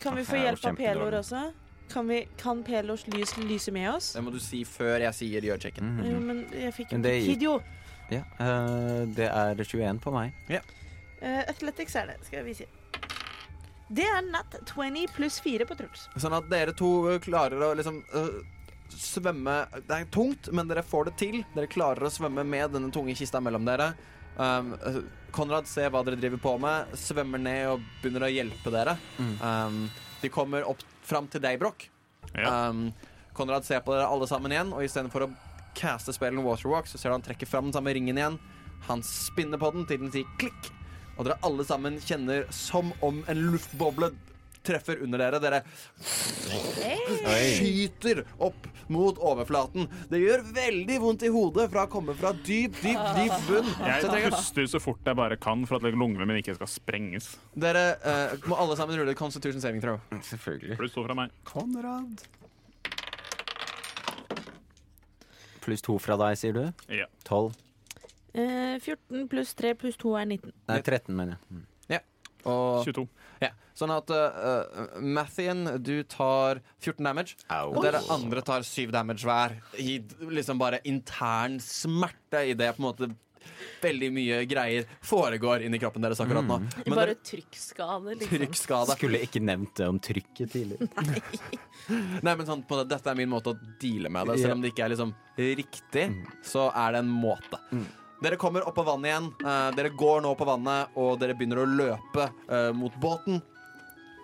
S4: Kan vi få
S9: Jeg er jo
S4: hjelp av
S9: kjempedårlig.
S4: Pelor også? Kan, vi, kan Pelors lys lyse med oss?
S5: Det må du si før jeg sier gjør checken.
S2: Mm.
S4: Jo, men jeg fikk jo
S2: Men det
S4: ikke
S2: gikk-
S4: tid, jo.
S2: Ja, eh, det er 21 på meg.
S4: Eh, athletics er det, skal vi si. Det er nat 20 pluss 4 på Truls.
S5: Sånn at dere to eh, klarer å liksom eh, svømme Det er tungt, men dere får det til. Dere klarer å svømme med denne tunge kista mellom dere. Um, eh, Konrad ser hva dere driver på med, svømmer ned og begynner å hjelpe dere. Um, de kommer opp fram til deg, Broch.
S3: Ja.
S5: Um, Konrad ser på dere alle sammen igjen, og istedenfor å caste spillen Waterwalk, så ser du han trekker fram den samme ringen igjen. Han spinner på den til den sier klikk, og dere alle sammen kjenner som om en luftboble treffer under dere. Dere skyter opp mot overflaten. Det gjør veldig vondt i hodet fra å komme fra dyp, dyp, dyp bunn. Så jeg
S3: Jeg
S5: tenker at
S3: puster så fort jeg bare kan for at lungene mine ikke skal sprenges.
S5: dere eh, må alle sammen rulle Constitution Saving Throw.
S2: Mm, Selvfølgelig.
S3: Pluss to fra meg.
S2: Konrad. Pluss to fra deg, sier du?
S3: Ja.
S2: 12.
S4: Eh, 14 pluss 3 pluss 2 er 19.
S2: Nei, 13, mener jeg.
S5: Og,
S3: 22.
S5: ja. Sånn at uh, Mathien, du tar 14 damage. Og dere andre tar syv damage hver. I d- liksom bare intern smerte i det på en måte veldig mye greier foregår inni kroppen deres akkurat nå. Men
S4: Bare
S5: dere
S4: trykkskade, liksom.
S5: trykkskade.
S2: Skulle ikke nevnt det om trykket tidligere.
S5: Nei, men sånn, på en måte, dette er min måte å deale med det. Selv om det ikke er liksom riktig, så er det en måte. Dere kommer opp på vannet igjen. Eh, dere går nå på vannet, og dere begynner å løpe eh, mot båten.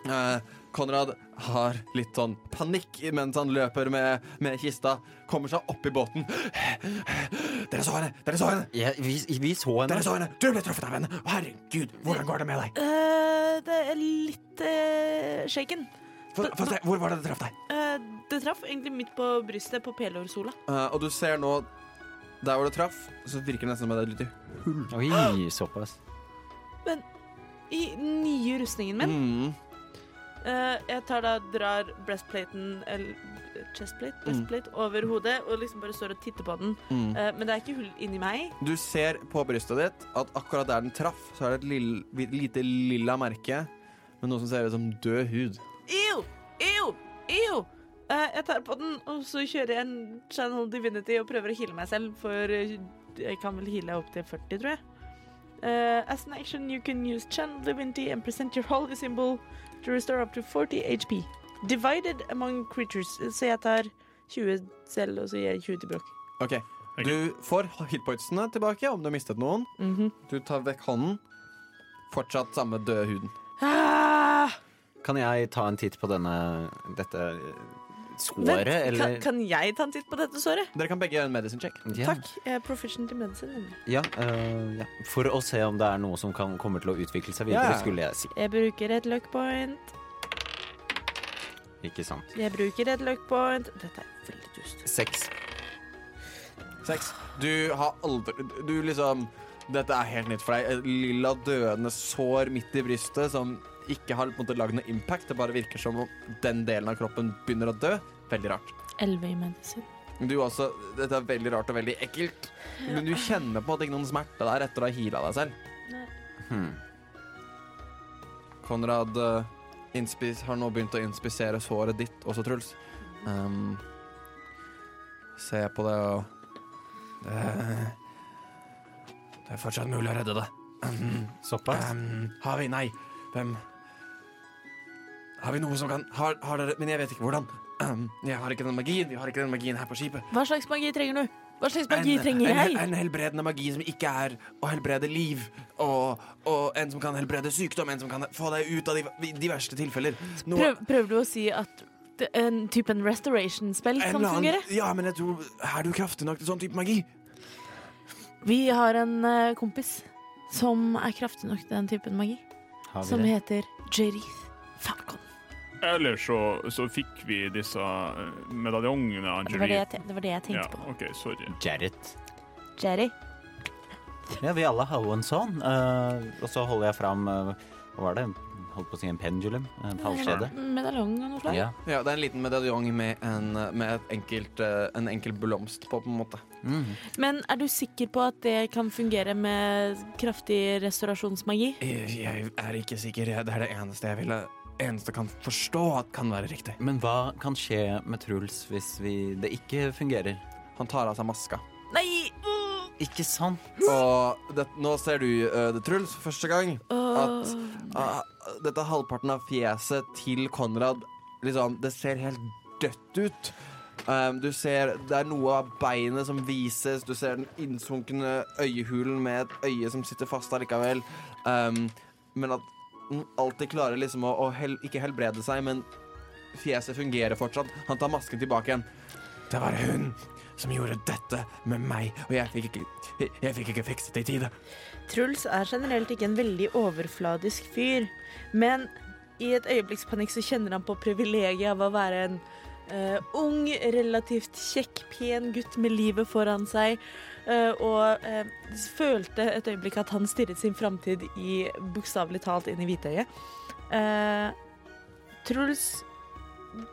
S5: Eh, Konrad har litt sånn panikk mens han løper med, med kista. Kommer seg opp i båten. Dere så henne! Dere så henne!
S2: Ja, vi, vi så henne.
S5: Dere så henne! Du ble truffet av henne! Å, Herregud, hvordan går det med deg?
S4: Eh, det er litt eh, shaken.
S5: Få få se, hvor var det det traff deg?
S4: Eh, det traff egentlig midt på brystet, på pelorsola.
S5: Eh, og du ser nå, der hvor det traff, så virker det nesten som det er et lite
S2: (gasps) Oi, såpass.
S4: I den nye rustningen min.
S5: mm.
S4: Eh, jeg tar da, drar breastplaten eller chestplate, breastplate over hodet og liksom bare står og titter på den.
S5: Mm.
S4: Eh, men det er ikke hull inni meg.
S5: Du ser på brystet ditt at akkurat der den traff, så er det et lille, lite lilla merke med noe som ser ut som død hud.
S4: Ew! Ew! Ew! Eh, jeg tar på den, og så kjører jeg en Channel Divinity og prøver å heale meg selv, for eh, jeg kan vel heale opp til 40, tror jeg. Eh, as an action, you can use Channel Divinity and present your holy symbol to restore up to 40 HP. Divided among creatures. Eh, Så jeg tar 20 selv, og så gir jeg 20 til Brokk.
S5: Ok, Du får hitpointsene tilbake om du har mistet noen.
S4: Mhm.
S5: Du tar vekk hånden. Fortsatt samme døde huden.
S4: Ah,
S2: Kan jeg ta en titt på denne Eh, dette såret,
S4: vent,
S2: eller
S4: kan, kan jeg ta en titt på dette såret?
S5: Dere kan begge gjøre en medicine check.
S2: ja,
S4: Takk. Jeg er proficient i medisin. nemlig.
S2: Ja, øh, ja. For å se om det er noe som kan komme til å utvikle seg videre,
S5: Ja.
S2: skulle jeg si.
S4: Jeg bruker et luck point.
S2: Ikke sant.
S4: Jeg bruker et luck point. Dette er veldig dust.
S2: Seks.
S5: Seks. Du har aldri Du liksom Dette er helt nytt for deg. Et Lilla døende sår midt i brystet som ikke har på en måte lagd noe impact. Det bare virker som om den delen av kroppen begynner å dø. Veldig rart.
S4: Elleve i medisin.
S5: Du også, Dette er veldig rart og veldig ekkelt, men du kjenner på at det ikke er noen smerte der etter å ha heala deg selv.
S4: Nei.
S2: Hmm.
S5: Konrad eh, innspis, har nå begynt å inspisere såret ditt også, Truls. Ehm, se på det og det, det er fortsatt mulig å redde det. (clears throat)
S1: Såpass?
S5: Ehm, har vi Nei. Hvem Har vi noe som kan Har, har dere Men jeg vet ikke hvordan. (clears throat) Ehm, jeg har ikke den magien. Vi har ikke den magien her på skipet.
S4: Hva slags magi trenger du? Hva slags magi trenger
S5: en,
S4: jeg?
S5: En helbredende magi som ikke er å helbrede liv, og, og en som kan helbrede sykdom, en som kan få deg ut av de, de verste tilfeller. Noe-
S4: Prøv, prøver du å si at det- en type en restoration-spill
S5: en
S4: kan
S5: eller annen-
S4: fungere?
S5: Ja, men jeg tror Er du kraftig nok til sånn type magi?
S4: Vi har en eh, kompis som er kraftig nok til den typen magi,
S2: Har vi
S4: som
S2: det?
S4: heter Jerith Falcon.
S3: Eller så, så fikk vi disse eh, medaljongene av
S4: Det var
S3: Angeli.
S4: det jeg, te- det var det jeg
S3: Ja,
S4: tenkte på.
S3: OK, sorry.
S9: Jarrett.
S4: Jerry.
S9: Ja, vi alle har jo en sånn. eh, og så holder jeg fram eh, Hva var det? Holdt på å si en pendulum? En halskjede?
S4: Medaljong av noe slag?
S9: Ja.
S5: Ja, det er en liten medaljong med en, med et enkelt, eh, en enkel blomst på, på en måte.
S9: Mm.
S4: Men er du sikker på at det kan fungere med kraftig restaurasjonsmagi?
S5: Jeg, jeg er ikke sikker. Jeg- Det er det eneste jeg ville Eneste kan forstå at kan være riktig.
S9: Men hva kan skje med Truls hvis vi, det ikke fungerer?
S5: Han tar av seg maska.
S4: Nei! Åh!
S9: Ikke sant?
S5: Og det, nå ser du eh, det, Truls, for første gang. At Ah, dette halvparten av fjeset til Konrad liksom, Det ser helt dødt ut. Um, du ser Det er noe av beinet som vises. Du ser den innsunkne øyehulen med et øye som sitter fast allikevel. Um, men at den alltid klarer liksom å, å hel ikke helbrede seg, men fjeset fungerer fortsatt. Han tar masken tilbake igjen. Det var hun som gjorde dette med meg, og jeg fikk ikke, jeg, jeg fikk ikke fikset det i tide.
S4: Truls er generelt ikke en veldig overfladisk fyr, men i et øyeblikkspanikk så kjenner han på privilegiet av å være en eh, ung, relativt kjekk, pen gutt med livet foran seg, eh, og eh, følte et øyeblikk at han stirret sin framtid i bokstavelig talt inn i hvitøyet. Eh, Truls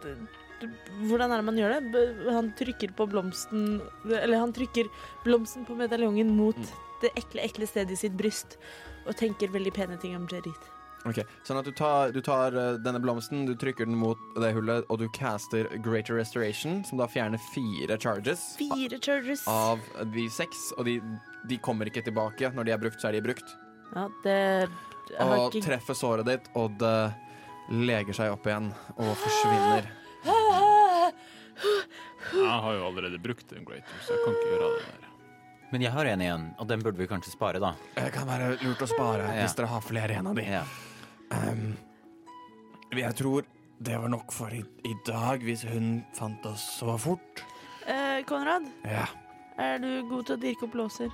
S4: d- d- hvordan er det man gjør det? B- Han trykker på blomsten Eller han trykker blomsten på medaljongen mot det ekle, ekle stedet i sitt bryst og tenker veldig pene ting om Jerith.
S5: Ok, Sånn at du tar, du tar eh, denne blomsten, du trykker den mot det hullet, og du caster Greater Restoration, som da fjerner fire charges
S4: Fire charges.
S5: av de seks. Og de, de kommer ikke tilbake. Når de er brukt, så er de brukt.
S4: Ja, det jeg har
S5: Og
S4: ikke
S5: treffer såret ditt, og det leger seg opp igjen og forsvinner.
S3: Jeg har jo allerede brukt en greater, så jeg kan ikke gjøre det der.
S9: Men jeg har en igjen, og den burde vi kanskje spare, da.
S5: Det kan være lurt å spare
S9: Ja.
S5: hvis dere har flere igjen av de.
S9: Ja.
S5: Ehm, jeg tror det var nok for i, i dag, hvis hun fant oss så fort.
S4: Eh, Konrad,
S5: Ja.
S4: er du god til å dirke opp låser?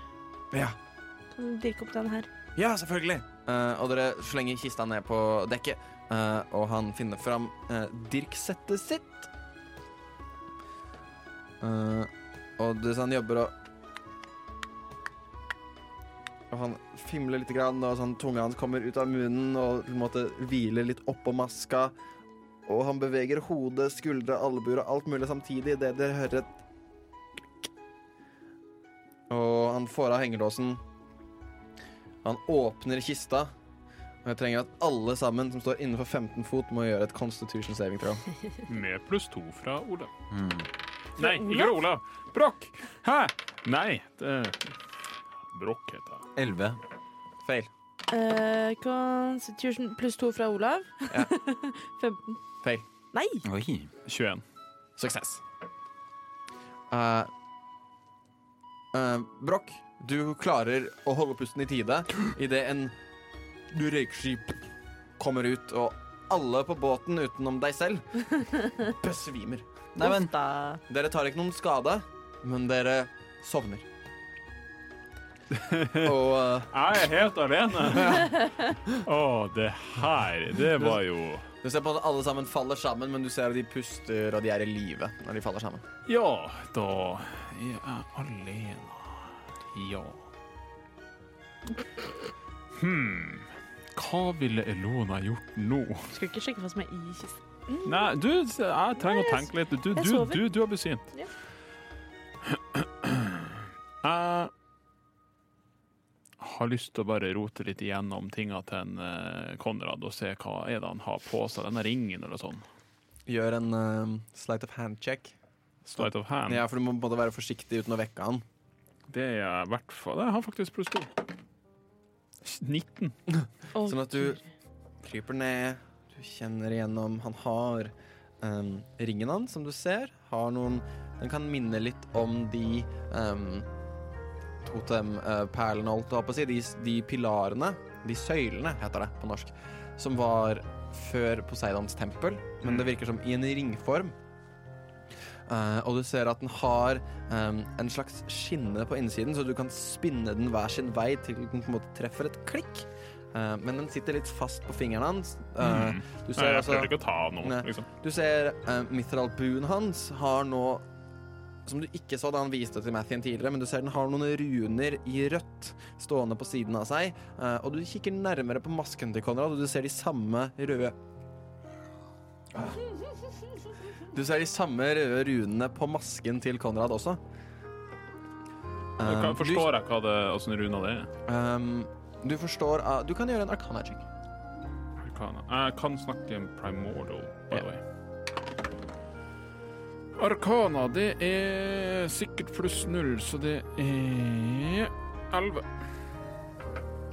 S5: Ja.
S4: Kan du dirke opp den her?
S5: Ja, selvfølgelig. Eh, og dere slenger kista ned på dekket, eh, og han finner fram uh, dirksettet sitt. Eh, og det, så han jobber og Og han fimler litt, grann, og sånn, tunga hans kommer ut av munnen og på en måte hviler litt oppå maska. Og han beveger hodet, skuldre, albuer og alt mulig samtidig idet dere hører et klikk. Og han får av hengelåsen. Han åpner kista, og jeg trenger at alle sammen som står innenfor 15 fot, må gjøre et Constitution saving throw.
S3: Med pluss to fra Ola.
S9: Mm.
S3: Nei, ikke Ola. Brokk. Hæ? Nei. Det... Brokk heter jeg.
S9: 11.
S5: Feil.
S4: Eh, Constitution pluss to fra Olav.
S5: Ja.
S4: 15.
S5: Feil.
S4: Nei!
S9: Oi.
S3: 21.
S5: Suksess. Eh, eh, Broch, du klarer å holde pusten i tide idet en røykskip kommer ut, og alle på båten utenom deg selv besvimer.
S9: Nei, men
S4: Da.
S5: Dere tar ikke noen skade, men dere sovner. Og eh,
S3: Jeg er helt
S4: (laughs)
S3: alene. Å, det her, det var jo
S5: Du ser på at alle sammen faller sammen, men du ser at de puster og de er i live når de faller sammen.
S3: Ja, da er jeg alene. Ja. Hmm. Hva ville Elona gjort nå?
S4: Skulle ikke sjekke hva som er i kisten.
S3: Nei, du, jeg trenger å tenke litt. Du,
S4: jeg
S3: du,
S4: sover.
S3: du, du har besvint.
S4: Ja.
S3: (clears throat) Jeg har lyst til å bare rote litt igjennom tinga til en eh, Konrad og se hva er det han har på seg. Denne ringen eller sånn.
S5: Gjør en eh, sleight of hand-check.
S3: Sleight of hand.
S5: Ja, for du må både være forsiktig uten å vekke han.
S3: Det er i hvert fall Det har faktisk pluss to. 19.
S4: Og
S5: Sånn at du kryper ned, du kjenner igjennom Han har em, ringen han, som du ser, har noen Den kan minne litt om de um, totemperlene, holdt jeg på å si. De, de pilarene, de søylene, heter det på norsk, som var før Poseidons tempel, men det virker som i en ringform. Eh, og du ser at den har em, en slags skinne på innsiden, så du kan spinne den hver sin vei til den på en måte treffer et klikk. Eh, men den sitter litt fast på fingeren hans. Eh,
S3: Mm.
S5: du
S3: Nei,
S5: ser
S3: jeg
S5: altså
S3: prøver ikke å ta av noe.
S5: Nei.
S3: Liksom.
S5: du ser uh, mithralbuen hans har nå Som du ikke så da han viste til Mathien tidligere, men du ser den har noen runer i rødt stående på siden av seg. eh, og du kikker nærmere på masken til Konrad, og du ser de samme røde Du ser de samme røde runene på masken til Konrad også.
S3: Jeg
S5: Eh,
S3: kan- Forstår jeg hva det, hvordan runa det er?
S5: Du, ehm, du forstår eh, Du kan gjøre en arcana-check.
S3: Arkana. Jeg kan snakke en primordial, by the way. Arkana, det er sikkert pluss null, så det er elleve.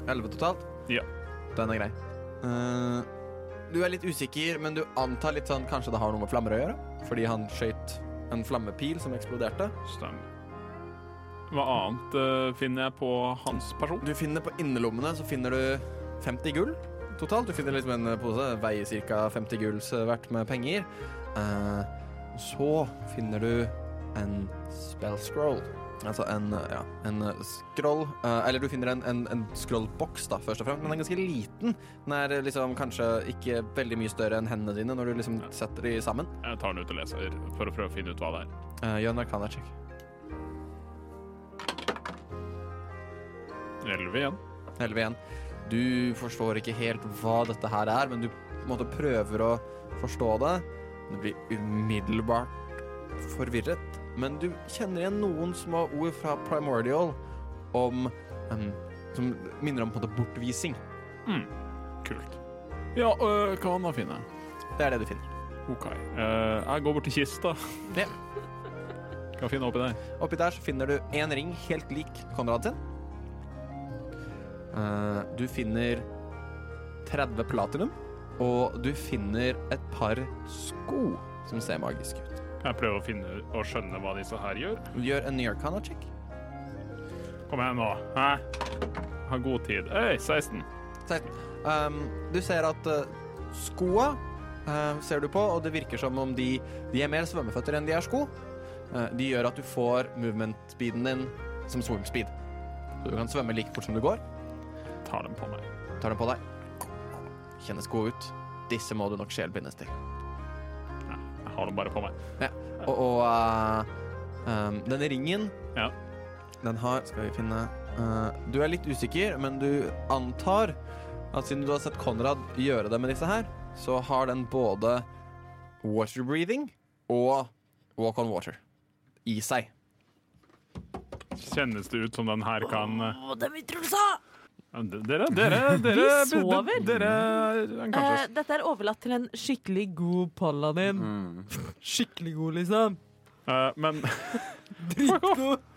S5: 11 totalt?
S3: Ja.
S5: Den er grei. Eh, du er litt usikker, men du antar litt sånn kanskje det har noe med flammer å gjøre? Fordi han skøyt en flammepil som eksploderte?
S3: Stemmer. Hva annet eh, finner jeg på hans person?
S5: Du finner på innerlommene så finner du 50 gull totalt. Du finner liksom en pose, veier ca. 50 gulls verdt med penger. Eh, så finner du en spell scroll. Altså en, ja, en scroll eh, Eller du finner en, en, en scrollboks, da, først og fremst. Men den er ganske liten. Den er liksom kanskje ikke veldig mye større enn hendene dine når du liksom setter de sammen.
S3: Jeg tar den ut og leser for å prøve å finne ut hva det er.
S5: Uh, Gjør en arcana-check.
S3: Elleve igjen.
S5: 11 igjen. Du forstår ikke helt hva dette her er, men du på en måte prøver å forstå det. Du blir umiddelbart forvirret, men du kjenner igjen noen små ord fra Primordial om em, som minner om på en måte bortvising.
S3: Kult. Ja, øh, hva annet finner jeg?
S5: Det er det du finner.
S3: OK. Eh, jeg går bort til kista.
S5: Ja.
S3: Hva finner jeg oppi der?
S5: Oppi der så finner du en ring helt lik Konrad sin. Eh, du finner 30 platinum, og du finner et par sko som ser magiske ut.
S3: Jeg prøver å finne og skjønne hva disse her gjør.
S5: Gjør en ny arcana-check.
S3: Kom igjen nå. Hæ? Ha god tid. Øy, 16.
S5: 16. Um, du ser at eh, skoa eh, ser du på, og det virker som om de, de er mer svømmeføtter enn de er sko. Eh, de gjør at du får movement-speeden din som swim speed. Så du kan svømme like fort som du går.
S3: Tar den på meg.
S5: Tar den på deg. Kjennes gode ut. Disse må du nok sjelbindes til.
S3: Jeg har den bare på meg.
S5: Og, og eh, um, denne ringen
S3: Ja.
S5: Den har Skal vi finne eh, Du er litt usikker, men du antar at siden du har sett Konrad gjøre det med disse her, så har den både water breathing og walk on water i seg.
S3: Kjennes det ut som den her kan eh,
S4: Å, det er mye Truls, da!
S3: Dere, dere, dere
S4: sover.
S3: Dere, den
S4: Eh,
S3: kanskje
S4: dette er overlatt til en skikkelig god paladin.
S5: Mm.
S4: Skikkelig god, liksom.
S3: Eh,
S4: (laughs)
S3: Men (laughs)
S4: Dritgod.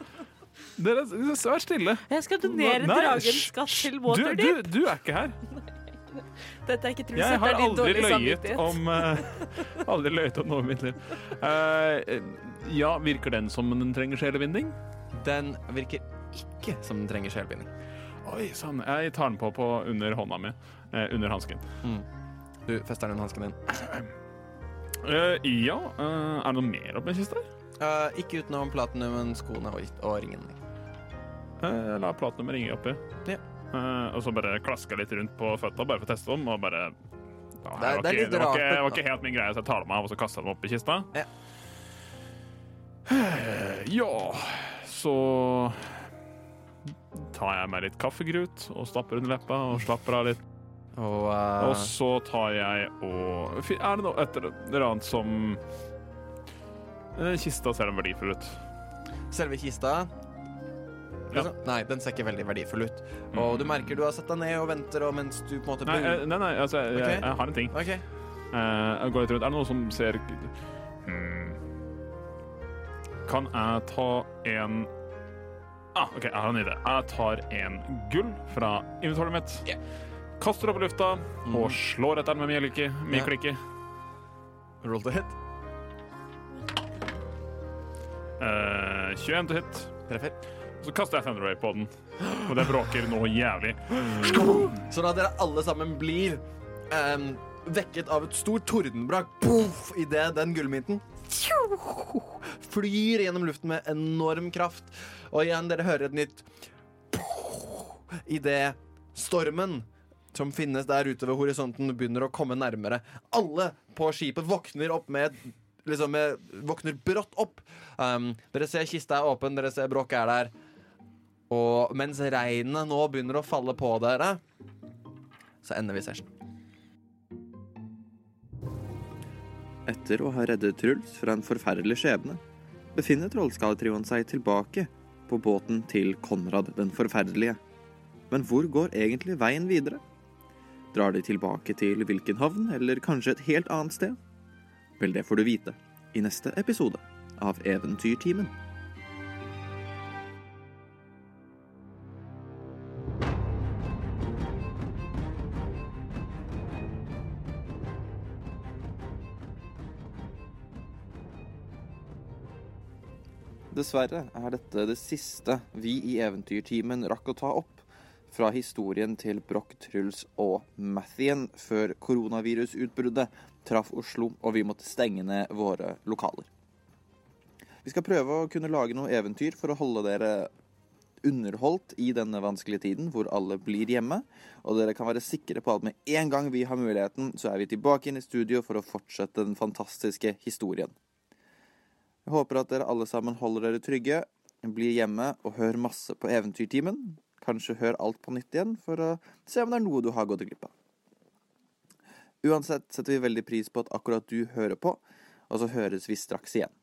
S3: dere, vær stille.
S4: Jeg skal donere
S3: Nei,
S4: dragens
S3: hysj,
S4: skatt til
S3: Du, du,
S4: Waterdeep.
S3: du er ikke her.
S4: Dette er ikke Truls,
S3: Jeg
S4: dette
S3: har
S4: er din
S3: aldri
S4: dårlige
S3: løyet
S4: samvittighet.
S3: om eh, (laughs) Aldri løyet om noe i mitt liv. Eh, ja, virker den som den trenger sjelebinding?
S5: Den virker ikke som den trenger sjelbinding.
S3: Oi sann, jeg tar den på, på under hånda mi. eh, under hansken.
S5: Du fester den under hansken din.
S3: Eh, ja, eh, er det noe mer oppi kista?
S5: Eh, ikke utenom platinumen, skoene og, og ringen.
S3: Eh, Jeg la platene med ringer oppi.
S5: Ja.
S3: Eh, og så bare klaska litt rundt på føtta bare for å teste dem. Og bare
S5: Det
S3: Ja,
S5: er- det er litt
S3: det, var
S5: rart,
S3: ikke,
S5: men-
S3: det var ikke helt min greie, så jeg tar dem av og så kaster jeg dem opp i kista.
S5: Ja.
S3: Eh, Ja, så tar jeg meg litt kaffegrut og stapper under leppa og slapper av litt.
S5: Og, eh,
S3: Og så tar jeg og Fi- Er det noe et eller annet som Eh, Kista ser den verdifull ut.
S5: selve kista Liksom.
S3: Ja. Mm.
S5: Nei, den ser ikke veldig verdifull ut. Og du merker du har satt deg ned og venter, og mens du på en måte
S3: Nei, eh, nei, nei altså, jeg, jeg,
S5: Ok.
S3: jeg har en ting.
S5: OK.
S3: Eh, Jeg går litt rundt. Er det noe som ser hmm. Kan jeg ta en ah, OK, jeg har en idé. Jeg tar en gull fra inventoret mitt.
S5: Ja. Mm.
S3: Kaster opp i lufta og slår etter den med mye
S5: Ja.
S3: myklikke.
S5: Roll to hit.
S3: Eh, 21 til hit.
S5: Treffer.
S3: Så kaster jeg Thunderwave på den, og det bråker noe jævlig.
S5: Sånn at dere alle sammen blir ehm, vekket av et stort tordenbrak Poff! I det den gullmynten tjo, flyr gjennom luften med enorm kraft. Og igjen, dere hører et nytt poff, I det stormen som finnes der ute ved horisonten, begynner å komme nærmere. Alle på skipet våkner opp med Liksom med, våkner brått opp. Ehm, dere ser kista er åpen, dere ser bråket er der. Og mens regnet nå begynner å falle på dere, så ender vi session.
S10: Etter å ha reddet Truls fra en forferdelig skjebne, befinner Trollskalletrioen seg tilbake på båten til Konrad den forferdelige. Men hvor går egentlig veien videre? Drar de tilbake til hvilken havn, eller kanskje et helt annet sted? Vel, det får du vite i neste episode av Eventyrtimen. Dessverre er dette det siste vi i Eventyrtimen rakk å ta opp fra historien til Broch, Truls og Mathien før koronavirusutbruddet traff Oslo og vi måtte stenge ned våre lokaler. Vi skal prøve å kunne lage noe eventyr for å holde dere underholdt i denne vanskelige tiden hvor alle blir hjemme. Og dere kan være sikre på at med en gang vi har muligheten, så er vi tilbake inn i studio for å fortsette den fantastiske historien. Jeg håper at dere alle sammen holder dere trygge, blir hjemme og hør masse på Eventyrtimen. Kanskje hør alt på nytt igjen for å se om det er noe du har gått glipp av. Uansett setter vi veldig pris på at akkurat du hører på, og så høres vi straks igjen.